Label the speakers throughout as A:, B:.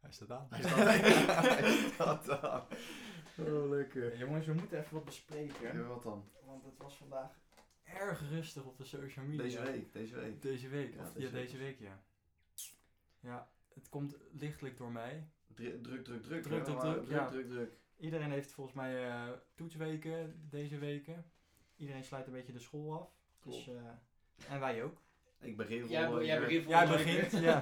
A: hij staat aan.
B: Hij staat- hij staat aan. Oh, lekker.
A: Eh, Jongens, we moeten even wat bespreken.
B: Ja, wat dan?
A: Want het was vandaag erg rustig op de social media.
B: Deze week, deze week.
A: Deze week,
B: Ja,
A: of-
B: deze
A: ja,
B: week
A: deze week, ja. Ja, het komt lichtelijk door mij.
B: Dru- Druk, druk, druk.
A: Druk,
B: hè,
A: druk,
B: maar
A: druk,
B: druk,
A: ja.
B: druk, druk.
A: Iedereen heeft volgens mij eh, toetsweken deze weken. Iedereen sluit een beetje de school af. Dus, eh, en wij ook.
B: Ik begin
C: Jij,
B: wel,
C: jij
B: eh,
C: begint
A: Jij
C: volgende week
A: begint,
C: weer.
A: ja.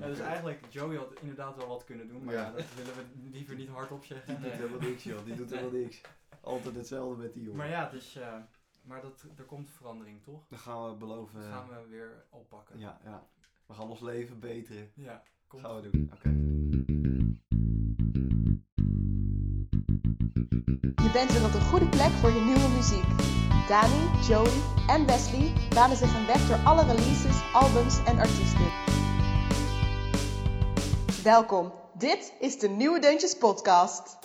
A: Ja, dus eigenlijk, Joey had inderdaad wel wat kunnen doen, maar
B: Ja.
A: ja. dat willen we liever niet hardop
B: Die
A: zeggen.
B: doet helemaal niks, joh. Die doet helemaal niks. Altijd hetzelfde met die jongen.
A: Maar ja, dus, eh, maar dat, er komt verandering, toch?
B: Dan gaan we beloven.
A: Dat gaan we weer oppakken.
B: Ja, ja. We gaan ons leven beteren.
A: Ja, komt.
B: Gaan we doen. Oké.
D: Je bent weer op de goede plek voor je nieuwe muziek. Dani, Joey en Wesley banen zich een weg door alle releases, albums en artiesten. Welkom, dit is de Nieuwe Deuntjes Podcast.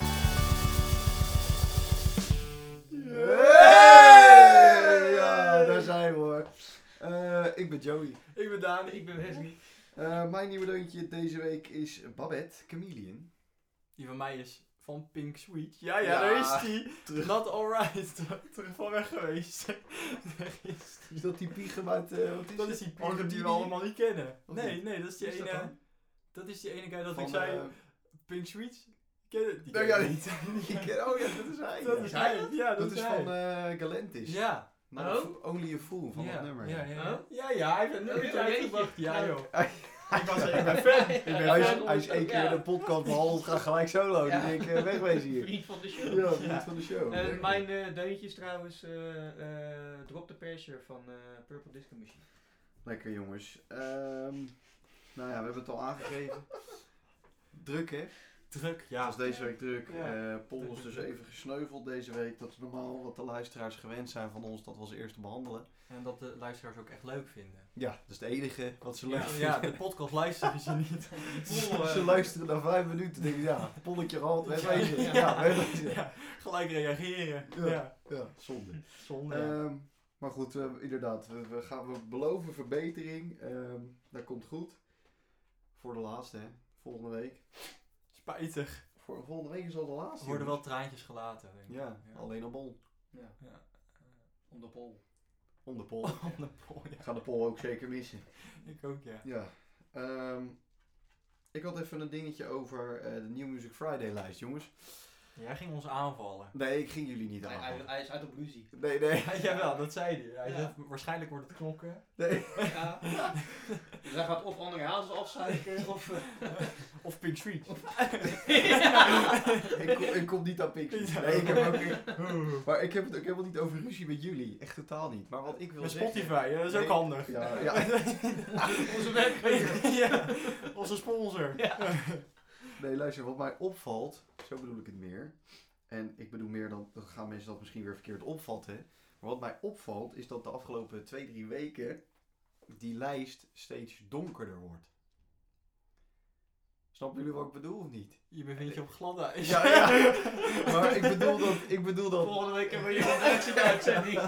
B: Hey! Ja, daar zijn we hoor. Eh, ik ben Joey.
A: Ik ben Dani.
C: Ik ben Wesley.
B: Eh, mijn nieuwe deuntje deze week is Babette Chameleon.
A: Die van mij is van Pink Sweet. Ja, ja,
B: Ja.
A: daar is die.
B: Terug.
A: Not alright. Terug van weg geweest. Daar is die. Oh,
B: Is dat die piegem uit... eh, wat is
A: Dat
B: het?
A: is die piger die
B: Argentinië?
A: we allemaal niet kennen.
B: Of
A: Nee,
B: niet?
A: nee, dat is die
B: Wie is dat
A: ene... Dat,
B: dan?
A: is die ene guy dat
B: Van,
A: ik zei,
B: eh,
A: Pink Sweet. Ken je- Die
B: Nou
A: ken
B: ja,
A: ik
B: die-
A: niet.
B: ik ken- oh ja, dat is hij.
A: Dat
B: ja.
A: is hij. Ja, dat,
B: Dat is van
A: hij.
B: eh, Galantis.
A: Ja.
B: Nou,
C: Oh.
B: Fo- Only a Fool van
A: ja.
B: dat nummer.
A: Ja, ja, ja.
C: Oh?
A: Ja, ja, hij heeft een
C: Oh,
A: nummertje
C: jeetje.
A: uitgebracht. Ja,
C: Ja.
A: joh.
B: Hij, was,
A: Ik ben fan.
C: Ik ben
B: hij, is,
C: fan.
B: hij is één keer in de podcast behandeld, gaat gelijk solo.
C: Ja.
B: Die denk ik, eh, wegwezen hier.
C: Vriend van de show.
B: Ja, vriend
A: Ja.
B: van de show.
C: Eh,
B: Lekker.
C: mijn eh deuntje is trouwens eh, eh, Drop the Pressure van eh, Purple Disco Machine.
B: Lekker jongens. Ehm, nou ja, we hebben het al aangegeven. Druk hè?
A: Druk,
B: Het
A: ja.
B: was deze week druk.
A: Ja.
B: Eh Paul was dus even gesneuveld deze week. Dat is normaal wat de luisteraars gewend zijn van ons. Dat was eerst te behandelen.
A: En dat de luisteraars ook echt leuk vinden.
B: Ja, dat is het enige wat ze leuk
A: Ja,
B: vinden.
A: ja de podcast luisteren ze niet.
C: Vol, eh,
B: Ze luisteren naar vijf minuten en denken, ja, polletje gehad, we
A: Ja.
B: weten het.
C: Ja.
B: Ja, we weten het.
A: Ja, gelijk reageren.
B: Ja.
A: Ja.
B: Ja, zonde.
A: Zonde.
B: Ehm, maar goed, eh, inderdaad, we, we, gaan, we beloven verbetering. Ehm, dat komt goed. Voor de laatste, hè. Volgende week.
A: Spijtig.
B: Voor, volgende week is al de laatste.
A: Er worden
B: jongens.
A: wel traantjes gelaten. Denk ik.
B: Ja, alleen op bol.
C: Ja.
A: Ja.
C: Om de pol.
B: Om de pol.
A: Om de pol, ja.
B: Ik ga de pol ook zeker missen.
A: Ik ook, ja.
B: Ja. ehm, ik had even een dingetje over eh, de New Music Friday lijst, jongens.
A: Jij ging ons aanvallen.
B: Nee, ik ging jullie niet
C: Hij,
B: aan.
C: hij, hij is uit op ruzie.
B: Nee, nee.
A: Ja, jawel, dat zei hij. Hij
C: Ja.
A: zegt, waarschijnlijk wordt het knokken.
B: nee.
C: Ja. dus hij gaat of andere hazels afzuiken of... eh,
A: Of Pink Street.
B: ik, kom, ik kom niet aan Pixie.
A: Ja.
B: Nee, ik heb ook, ik- maar ik heb het ook helemaal niet over ruzie met jullie. Echt totaal niet. Maar wat ik wil
A: Met
B: zeggen...
A: Spotify, ja, dat is ook
B: Nee.
A: handig.
B: Ja, ja.
C: Onze werkgever.
A: Ja, Onze sponsor.
B: Nee, luister, wat mij opvalt, zo bedoel ik het meer. En ik bedoel meer dan, dan gaan mensen dat misschien weer verkeerd opvatten. Maar wat mij opvalt, is dat de afgelopen twee, drie weken die lijst steeds donkerder wordt. Snappen jullie wat ik bedoel of niet?
A: Je bevindt je op gladde ijs.
B: Ja, ja. Maar ik bedoel dat, ik bedoel dat
C: Volgende week hebben we hier een reactie bij uitzending.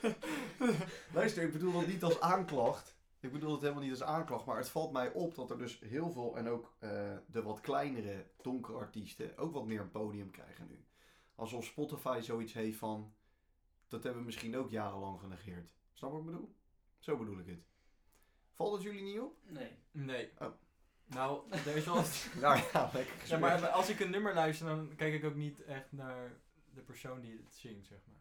B: Luister, ik bedoel dat niet als aanklacht. Ik bedoel het helemaal niet als aanklacht, maar het valt mij op dat er dus heel veel en ook eh, de wat kleinere donkere artiesten ook wat meer een podium krijgen nu. Alsof Spotify zoiets heeft van, dat hebben we misschien ook jarenlang genegeerd. Snap wat ik bedoel? Zo bedoel ik het. Valt het jullie niet op?
C: Nee.
A: Nee.
B: Oh.
A: Nou, er is wel...
B: Nou ja, lekker
A: Ja,
B: gesprek.
A: maar als ik een nummer luister, dan kijk ik ook niet echt naar de persoon die het zingt, zeg maar.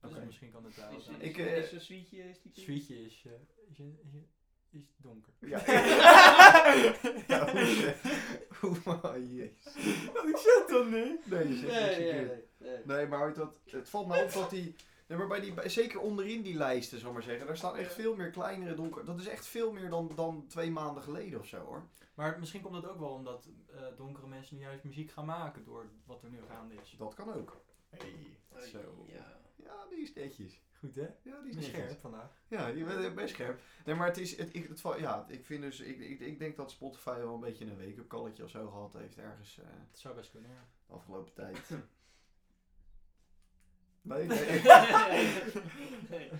A: Dus
B: Oké.
A: misschien kan het daar wel
C: Is,
A: zijn.
C: is,
B: Ik,
C: ik,
B: eh,
C: is een sweetje... Is die
A: Sweetje is, eh, is, is, is donker.
B: Ja. Ja, hoe zeg- hoe- oh, jezus.
A: ik zit dan niet.
B: Nee, je zegt niks
C: Nee, nee,
B: verkeerd.
C: nee. nee.
B: Nee, maar dat, het valt mij op dat die. Nee, maar bij die, bij- zeker onderin die lijsten, zal ik maar zeggen. Daar staan echt veel meer kleinere donker. Dat is echt veel meer dan, dan twee maanden geleden of zo hoor.
A: Maar misschien komt dat ook wel omdat eh, donkere mensen nu juist muziek gaan maken door wat er nu gaande is.
B: Dat kan ook. Hey,
C: Hey,
B: zo.
C: Ja.
B: Ja, die is netjes.
A: Goed hè?
B: Ja, die
A: Ik
B: is
A: ben
B: netjes.
A: scherp vandaag.
B: Ja, je bent best scherp. Nee, maar het is. Het, ik, het, val- ja, ik vind dus. Ik, ik, ik denk dat Spotify wel een beetje een week op kalletje of zo gehad heeft ergens eh,
A: Dat zou best kunnen, ja.
B: de afgelopen tijd. Nee, nee.
C: nee.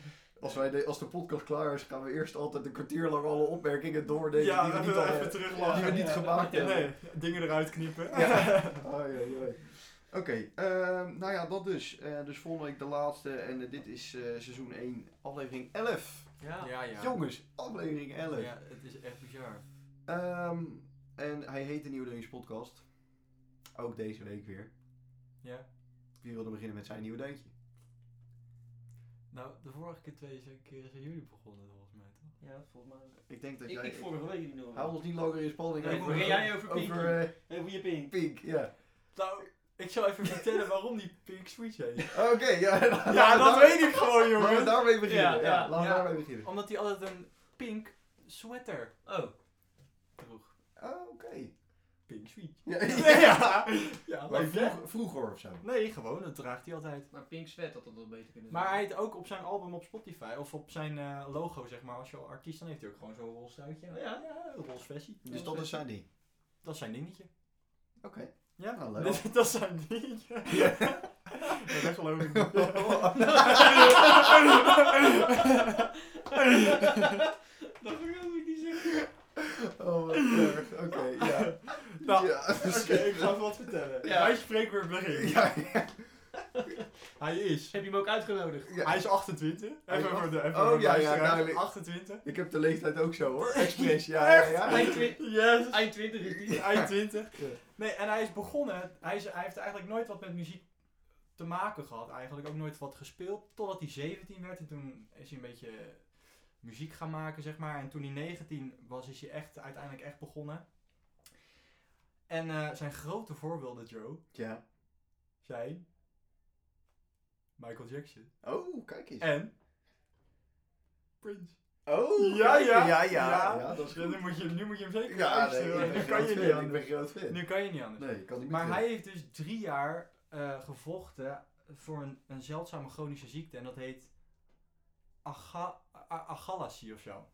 B: Als, wij de, als de podcast klaar is, gaan we eerst altijd een kwartier lang alle opmerkingen doornemen
A: ja,
B: die we
A: we
B: niet al
A: hebben even
B: hebben.
A: teruglachen.
B: die we niet gemaakt
A: Ja,
B: hebben.
A: nee, dingen eruit knippen.
B: Ja. Ai, ai, ai. Oké, ehm, nou ja, dat dus. Eh, dus volgende week de laatste. En eh, dit is eh, seizoen 1, aflevering 11.
C: Ja.
A: ja. ja.
B: Jongens, aflevering 11.
A: Ja, het is echt bizar.
B: Ehm, en hij heet de Nieuwe Deuntjes podcast. Ook deze week weer.
A: Ja.
B: Wie wilde beginnen met zijn nieuwe deuntje?
A: Nou, de vorige keer twee zijn- keer zijn jullie begonnen volgens mij, toch?
C: Ja, volgens mij.
B: Ik denk dat
C: Ik,
B: jij...
C: ik vorige week niet nog.
B: Hou ons niet langer in spanning.
C: Nee,
B: over,
A: begin
C: jij over Pinky?
B: Over eh,
C: Even je pink.
B: Pink, ja.
A: Nou, ik zal even vertellen waarom die Pink Switch heet.
B: Oké, ja.
A: Ja,
B: laten
A: dat
B: we-
A: weet ik gewoon,
B: Laten we
A: jongen.
B: daarmee beginnen. Ja,
C: Ja, ja,
B: laten we
A: ja.
B: daarmee beginnen.
A: Omdat hij altijd een pink sweater
C: Oh.
A: droeg.
B: Oh, oké.
A: Pink Switch.
B: Ja,
A: Nee, ja. ja
B: Maar
A: leuk, hè?
B: vroeg- vroeger of zo.
A: Nee, gewoon, dat draagt hij altijd.
C: Maar Pink Sweat had dat wel beter kunnen
A: Maar hij heeft ook op zijn album op Spotify, of op zijn eh, logo zeg maar, als je al artiest, dan heeft hij ook gewoon zo'n roze truitje.
C: Ja.
A: ja een roze versie.
B: Dus dat is zijn ding.
A: Dat is zijn dingetje.
B: Oké.
A: Ja,
B: Nou, leuk.
A: dat, dat is zijn dingetje. Ja, dat geloof ik niet.
C: dat wil ik niet zeggen.
B: Oh, wat erg. Oké, ja.
A: Nou,
B: ja.
A: Oké, ik ga even wat vertellen.
C: Ja.
A: Hij spreekt weer begin.
B: Ja, ja.
A: Hij is.
C: Heb je hem ook uitgenodigd?
B: Ja.
A: Hij is 28.
B: Hij is
A: Even voor de even
B: Oh,
A: voor de
B: ja, ja,
A: luisteraars.
B: duidelijk.
A: 28.
B: Ik heb de leeftijd ook zo hoor. Express, ja. ja, ja.
C: Eind twi-
A: Yes.
C: eind 20 is die.
A: Eind 20.
B: Ja.
A: Nee, en hij is begonnen. Hij, is, hij heeft eigenlijk nooit wat met muziek te maken gehad. Eigenlijk ook nooit wat gespeeld. Totdat hij 17 werd. En toen is hij een beetje muziek gaan maken, zeg maar. En toen hij 19 was, is hij echt, uiteindelijk echt begonnen. En eh, zijn grote voorbeelden, Joe,
B: Ja.
A: zijn Michael Jackson
B: Oh, kijk eens.
A: en Prince.
B: Oh,
A: Ja,
B: kijk,
A: ja.
B: ja, ja.
A: Ja.
B: Ja, dat is
A: Ja,
B: goed.
A: nu, moet je, nu moet je hem zeker
B: Ja, nee,
A: luisteren,
B: ik
A: want
B: ben
A: nu kan
B: groot
A: je
B: fan.
A: niet
B: Ik
A: anders.
B: ben groot fan.
A: Nu kan je niet anders.
B: Nee, ik kan niet
A: Maar
B: meer
A: hij heeft dus drie jaar eh, gevochten voor een, een zeldzame chronische ziekte. En dat heet aga, a- agalasie of zo.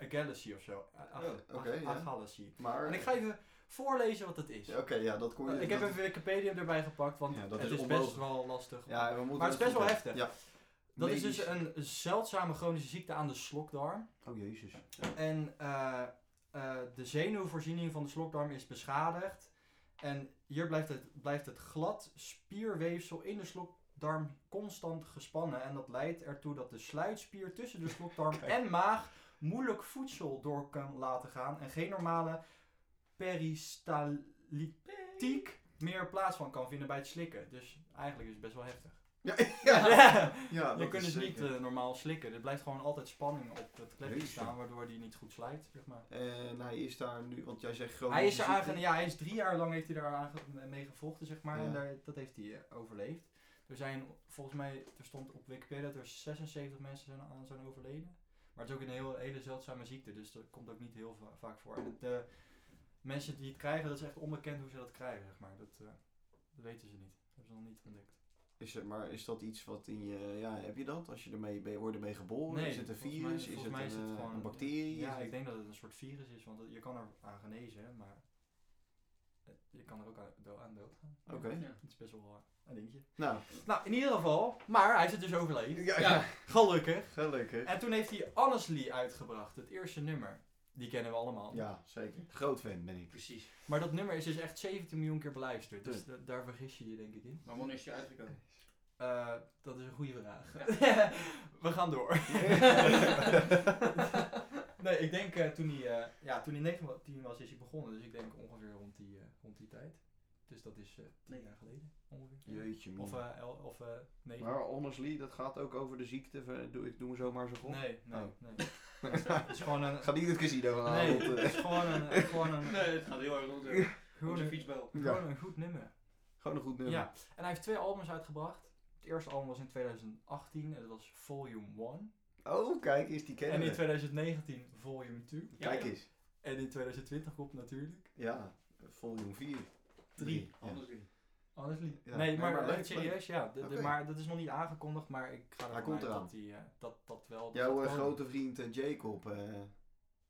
A: Agalasie of zo. A- a-
B: Oh, oké,
A: a-
B: ja.
A: Agalasie.
B: Maar...
A: En ik ga even voorlezen wat het is. Eh,
B: Ja, Oké, ja, dat kon je...
A: ik heb
B: dat-
A: even Wikipedia erbij gepakt, want
B: Ja, dat
A: het is,
B: is
A: best
B: onmogelijk.
A: wel lastig.
B: Ja, we moeten
A: Maar het is best wel heftig.
B: Ja.
A: dat is dus
B: Medisch.
A: een zeldzame chronische ziekte aan de slokdarm.
B: Oh, jezus.
A: En eh, eh, de zenuwvoorziening van de slokdarm is beschadigd. En hier blijft het, blijft het glad spierweefsel in de slokdarm constant gespannen. En dat leidt ertoe dat de sluitspier tussen de slokdarm
B: Kijk.
A: en maag moeilijk voedsel door kan laten gaan. En geen normale peristaltiek meer plaats van kan vinden bij het slikken. Dus eigenlijk is het best wel heftig.
B: Ja,
A: Ja.
B: ja. ja
A: Je
B: dat
A: kunt
B: is
A: dus niet
B: zeker.
A: eh, normaal slikken. Er blijft gewoon altijd spanning op het klepje
B: Jezus.
A: staan, waardoor die niet goed slijt. Zeg maar.
B: Eh, En hij is daar nu, want jij zegt gewoon.
A: Hij is er aange- ja, hij is drie jaar lang heeft hij daar aan ge- mee gevochten, zeg maar.
B: Ja.
A: En daar, dat heeft hij eh, overleefd. Er zijn, volgens mij, er stond op Wikipedia dat er 76 mensen zijn, aan zijn overleden. Maar het is ook een heel, hele zeldzame ziekte, dus dat komt ook niet heel va- vaak voor. En het, eh, mensen die het krijgen, dat is echt onbekend hoe ze dat krijgen, zeg maar. Dat, eh, dat weten ze niet. Dat hebben ze nog niet ontdekt.
B: Is het- maar is dat iets wat in je. Ja, heb je dat? Als je ermee ben, wordt ermee geboren? is het een
A: volgens
B: virus?
A: mij-
B: is
A: volgens
B: het,
A: mij
B: een, eh,
A: gewoon-
B: een bacterie?
A: Ja,
B: Is
A: ik
B: het-
A: denk dat het een soort virus is, want je kan er aan genezen, maar het- je kan er ook aan, do- aan dood gaan.
B: Oké.
C: Ja.
A: Het is best wel eh, een dingetje.
B: Nou,
A: Nou, in ieder geval, maar hij is het dus overleefd.
B: ja,
C: Ja.
B: ja.
A: Gelukkig.
B: gelukkig.
A: En toen heeft hij Honestly uitgebracht, het eerste nummer. Die kennen we allemaal.
B: Ja, zeker. Groot fan ben ik.
C: Precies.
A: Maar dat nummer is dus echt 17 miljoen keer beluisterd, dus da- daar vergis je je denk ik in.
C: Maar wanneer is je uitgekomen?
A: Eh, dat is een goede vraag. we gaan door. nee, ik denk eh, toen hij, eh, ja, toen hij 19 was, is hij begonnen. Dus ik denk ongeveer rond die, eh, rond die tijd. Dus dat is eh
C: Nee.
A: 10 jaar geleden ongeveer.
B: Jeetje, man.
A: Of, eh el, of eh 9.
B: maar honestly, dat gaat ook over de ziekte. van- eh, Doe, ik doe me zomaar zo goed.
A: Nee, nee,
B: Oh.
A: nee. Het is gewoon een...
B: Ga niet het casino gaan
A: Nee,
B: want,
A: het
B: eh,
A: is gewoon een, gewoon een,
C: Nee, het gaat heel erg onder.
A: gewoon
C: Onze
A: een,
C: fietsbel.
B: ja,
A: gewoon een goed nummer.
B: gewoon een goed nummer.
A: Ja, en hij heeft twee albums uitgebracht. Het eerste album was in 2018 en dat was Volume 1.
B: Oh, kijk eens, die kennen
A: En in
B: we.
A: 2019 Volume 2.
C: Ja,
B: Kijk
C: ja.
B: eens.
A: En in 2020 komt natuurlijk
B: Ja, volume 4.
A: Drie.
B: Ja.
C: Anders doen.
A: Honestly.
B: Ja,
A: nee,
B: nee,
A: maar,
B: maar
A: eh,
B: leuk,
A: serieus, ja. De- de-
B: Oké.
A: Maar dat is nog niet aangekondigd, maar ik ga
B: Hij
A: ervan
B: komt
A: uit
B: eraan.
A: dat, die, eh, dat dat wel... dat
B: Jouw
A: gaat
B: eh,
A: komen.
B: grote vriend eh, Jacob eh,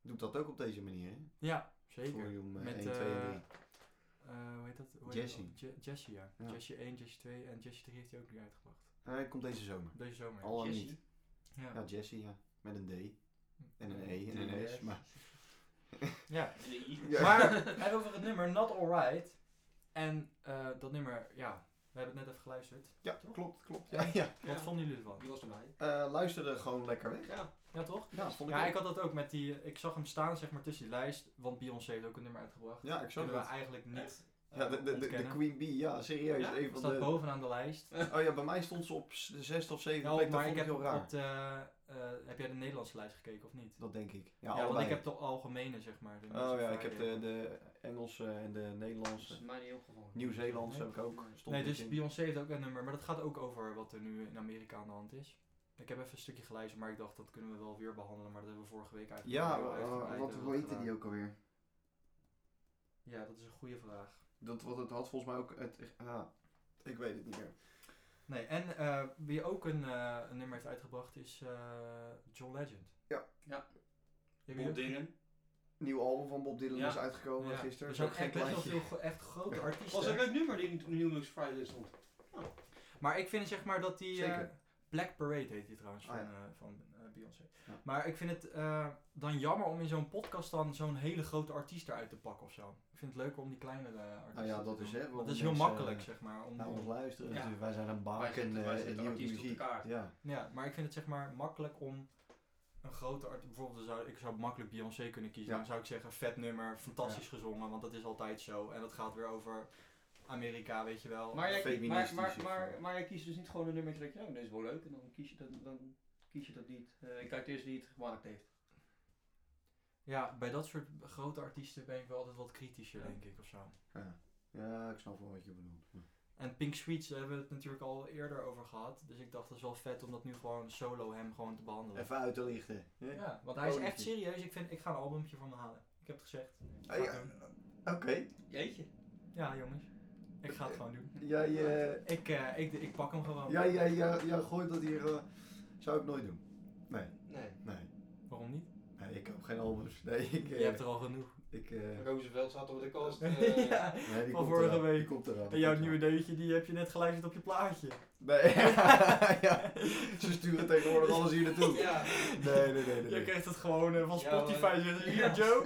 B: doet dat ook op deze manier, hè?
A: Ja, zeker.
B: Volume eh,
A: Met,
B: 1, 2 en
A: eh,
B: 3.
A: Eh, hoe heet dat? Hoe heet
B: Jesse.
A: dat? Je- Jesse, ja.
B: Ja.
A: Jesse 1, Jesse 2 en Jesse 3 heeft hij ook nu uitgebracht.
B: Hij komt deze zomer.
A: Deze zomer.
B: Al dan
C: Jesse.
B: niet. Ja, Jesse, ja. Met een D. En een E en een S. Maar
A: ja.
B: Ja.
A: Maar we hebben over het nummer Not Alright. En eh, dat nummer, ja, we hebben het net even geluisterd.
B: ja, klopt, klopt. Ja, ja.
A: Wat
C: Ja.
A: vonden jullie ervan?
C: Die was erbij.
B: Eh, luister er gewoon lekker weg.
C: Ja.
A: Ja, toch?
B: Ja, dat vond ik
A: Ja,
B: ook.
A: ik had dat ook met die. Ik zag hem staan, zeg maar, tussen die lijst. Want Beyoncé heeft ook een nummer uitgebracht.
B: Ja, ik zag
A: Kunnen we
B: dat.
A: eigenlijk niet. eh,
B: Ja, de, de, de, de
A: ontkennen.
B: Queen Bee, ja, serieus.
A: Ja,
B: een van
A: staat
B: de...
A: bovenaan de lijst.
B: Oh ja, bij mij stond ze op s- de zesde of zevende
A: Ja,
B: plek. Dat
A: maar ik
B: vond ik
A: heb
B: heel raar.
A: op de, eh, heb jij de Nederlandse lijst gekeken of niet?
B: Dat denk ik. Ja,
A: Ja, want
B: allebei.
A: ik heb de algemene, zeg maar. de
B: Oh ja,
A: Spotify,
B: ik heb
A: eh,
B: de, de Engelse en de
C: Dat is
B: Nederlandse.
C: mij niet opgevallen.
B: Nieuw-Zeelandse heb ik ook. Stond
A: Nee,
B: niet
A: dus
B: in.
A: Beyoncé heeft ook een nummer, maar dat gaat ook over wat er nu in Amerika aan de hand is. Ik heb even een stukje geluisterd, maar ik dacht dat kunnen we wel weer behandelen, maar dat hebben we vorige week uit.
B: Ja,
A: uitgebreid
B: eh,
A: hebben
B: wat
A: we
B: hoe
A: dat
B: heette die
A: gedaan.
B: ook alweer?
A: Ja, dat is een goede vraag.
B: Dat, wat het had volgens mij ook... Het, ja, ik weet het niet meer.
A: Nee, en eh, wie ook een, eh, een nummer heeft uitgebracht is eh, John Legend.
B: Ja.
C: Ja.
A: Heb je-
E: Bob Dylan.
B: Nieuw album van Bob Dylan
E: Ja.
B: is uitgekomen
A: Ja.
B: gisteren.
A: Er zijn ook echt best wel
B: kleintje.
A: veel go- echt grote
E: Het was
A: artiesten.
E: een leuk nummer die in New Music Friday stond.
A: Maar ik vind zeg maar dat die... eh,
B: Zeker.
A: Black Parade heet die trouwens
B: Ah,
A: van,
B: ja.
A: eh, van eh, Beyoncé.
B: Ja.
A: Maar ik vind het eh, dan jammer om in zo'n podcast dan zo'n hele grote artiest eruit te pakken of zo. Ik vind het leuker om die kleinere artiesten
B: Nou ja,
A: te
B: dat
A: doen.
B: is hè.
A: Want
B: waarom
A: het is heel
B: mensen,
A: makkelijk
B: eh,
A: zeg maar. Om,
B: Naar ons luisteren.
E: Ja.
B: Dus wij zijn een
E: Wij
B: baak en
E: zetten- wij
B: eh,
E: zetten
B: nieuwe
E: artiesten op de
B: muziek.
E: kaart.
B: Ja.
A: Ja, maar ik vind het zeg maar makkelijk om een grote artiest... Bijvoorbeeld, zou, ik zou makkelijk Beyoncé kunnen kiezen.
B: Ja.
A: Dan zou ik zeggen, vet nummer, fantastisch gezongen, want dat is altijd zo. En dat gaat weer over Amerika, weet je wel.
C: Maar jij, kiest- maar,
B: Feministisch
C: maar,
B: of,
C: maar,
B: eh.
C: maar jij kiest dus niet gewoon een nummertje dat je, oh, dit is wel leuk, en dan kies je dat, dan kies je dat niet. Eh, ik kijk eerst wie het gemaakt heeft.
A: Ja, bij dat soort grote artiesten ben ik wel altijd wat kritischer, denk ik, of zo.
B: Ja. Ja, ik snap wel wat je bedoelt.
A: En Pink Sweets daar hebben we het natuurlijk al eerder over gehad. Dus ik dacht, dat is wel vet om dat nu gewoon solo hem gewoon te behandelen.
B: Even uit te lichten. hè?
A: Ja, want hij is echt
B: Koninkje.
A: serieus. Ik, vind, ik ga een albumpje van me halen. Ik heb het gezegd.
B: Ah,
A: Ga ik
B: ja.
A: doen.
B: Oké.
C: Jeetje.
A: ja, jongens. Ik ga het gewoon doen.
B: Jij, eh,
A: Ik, eh, ik, ik pak hem gewoon.
B: jij, jij, jij, jij gooit dat hier. eh, zou ik nooit doen.
C: Nee.
B: Nee.
A: Waarom niet?
B: Nee, ik heb geen albums. Nee, ik.
A: Je
B: eh,
A: hebt er al genoeg. Eh,
B: ik eh,
E: Roosevelt zat op de kast.
A: ja.
B: nee, die
A: Van
B: komt
A: vorige
B: eraan,
A: week.
B: Die komt eraan.
A: En jouw nieuwe deuntje, die heb je net geluisterd op je plaatje.
B: Nee. ja. Ze sturen tegenwoordig alles hier naartoe.
E: Ja.
B: Nee, nee, nee. nee,
A: Jij
B: nee.
A: kreeg het gewoon eh, van
E: Ja, maar-
A: Spotify. Je zegt, Hier,
C: Ja.
A: Joe.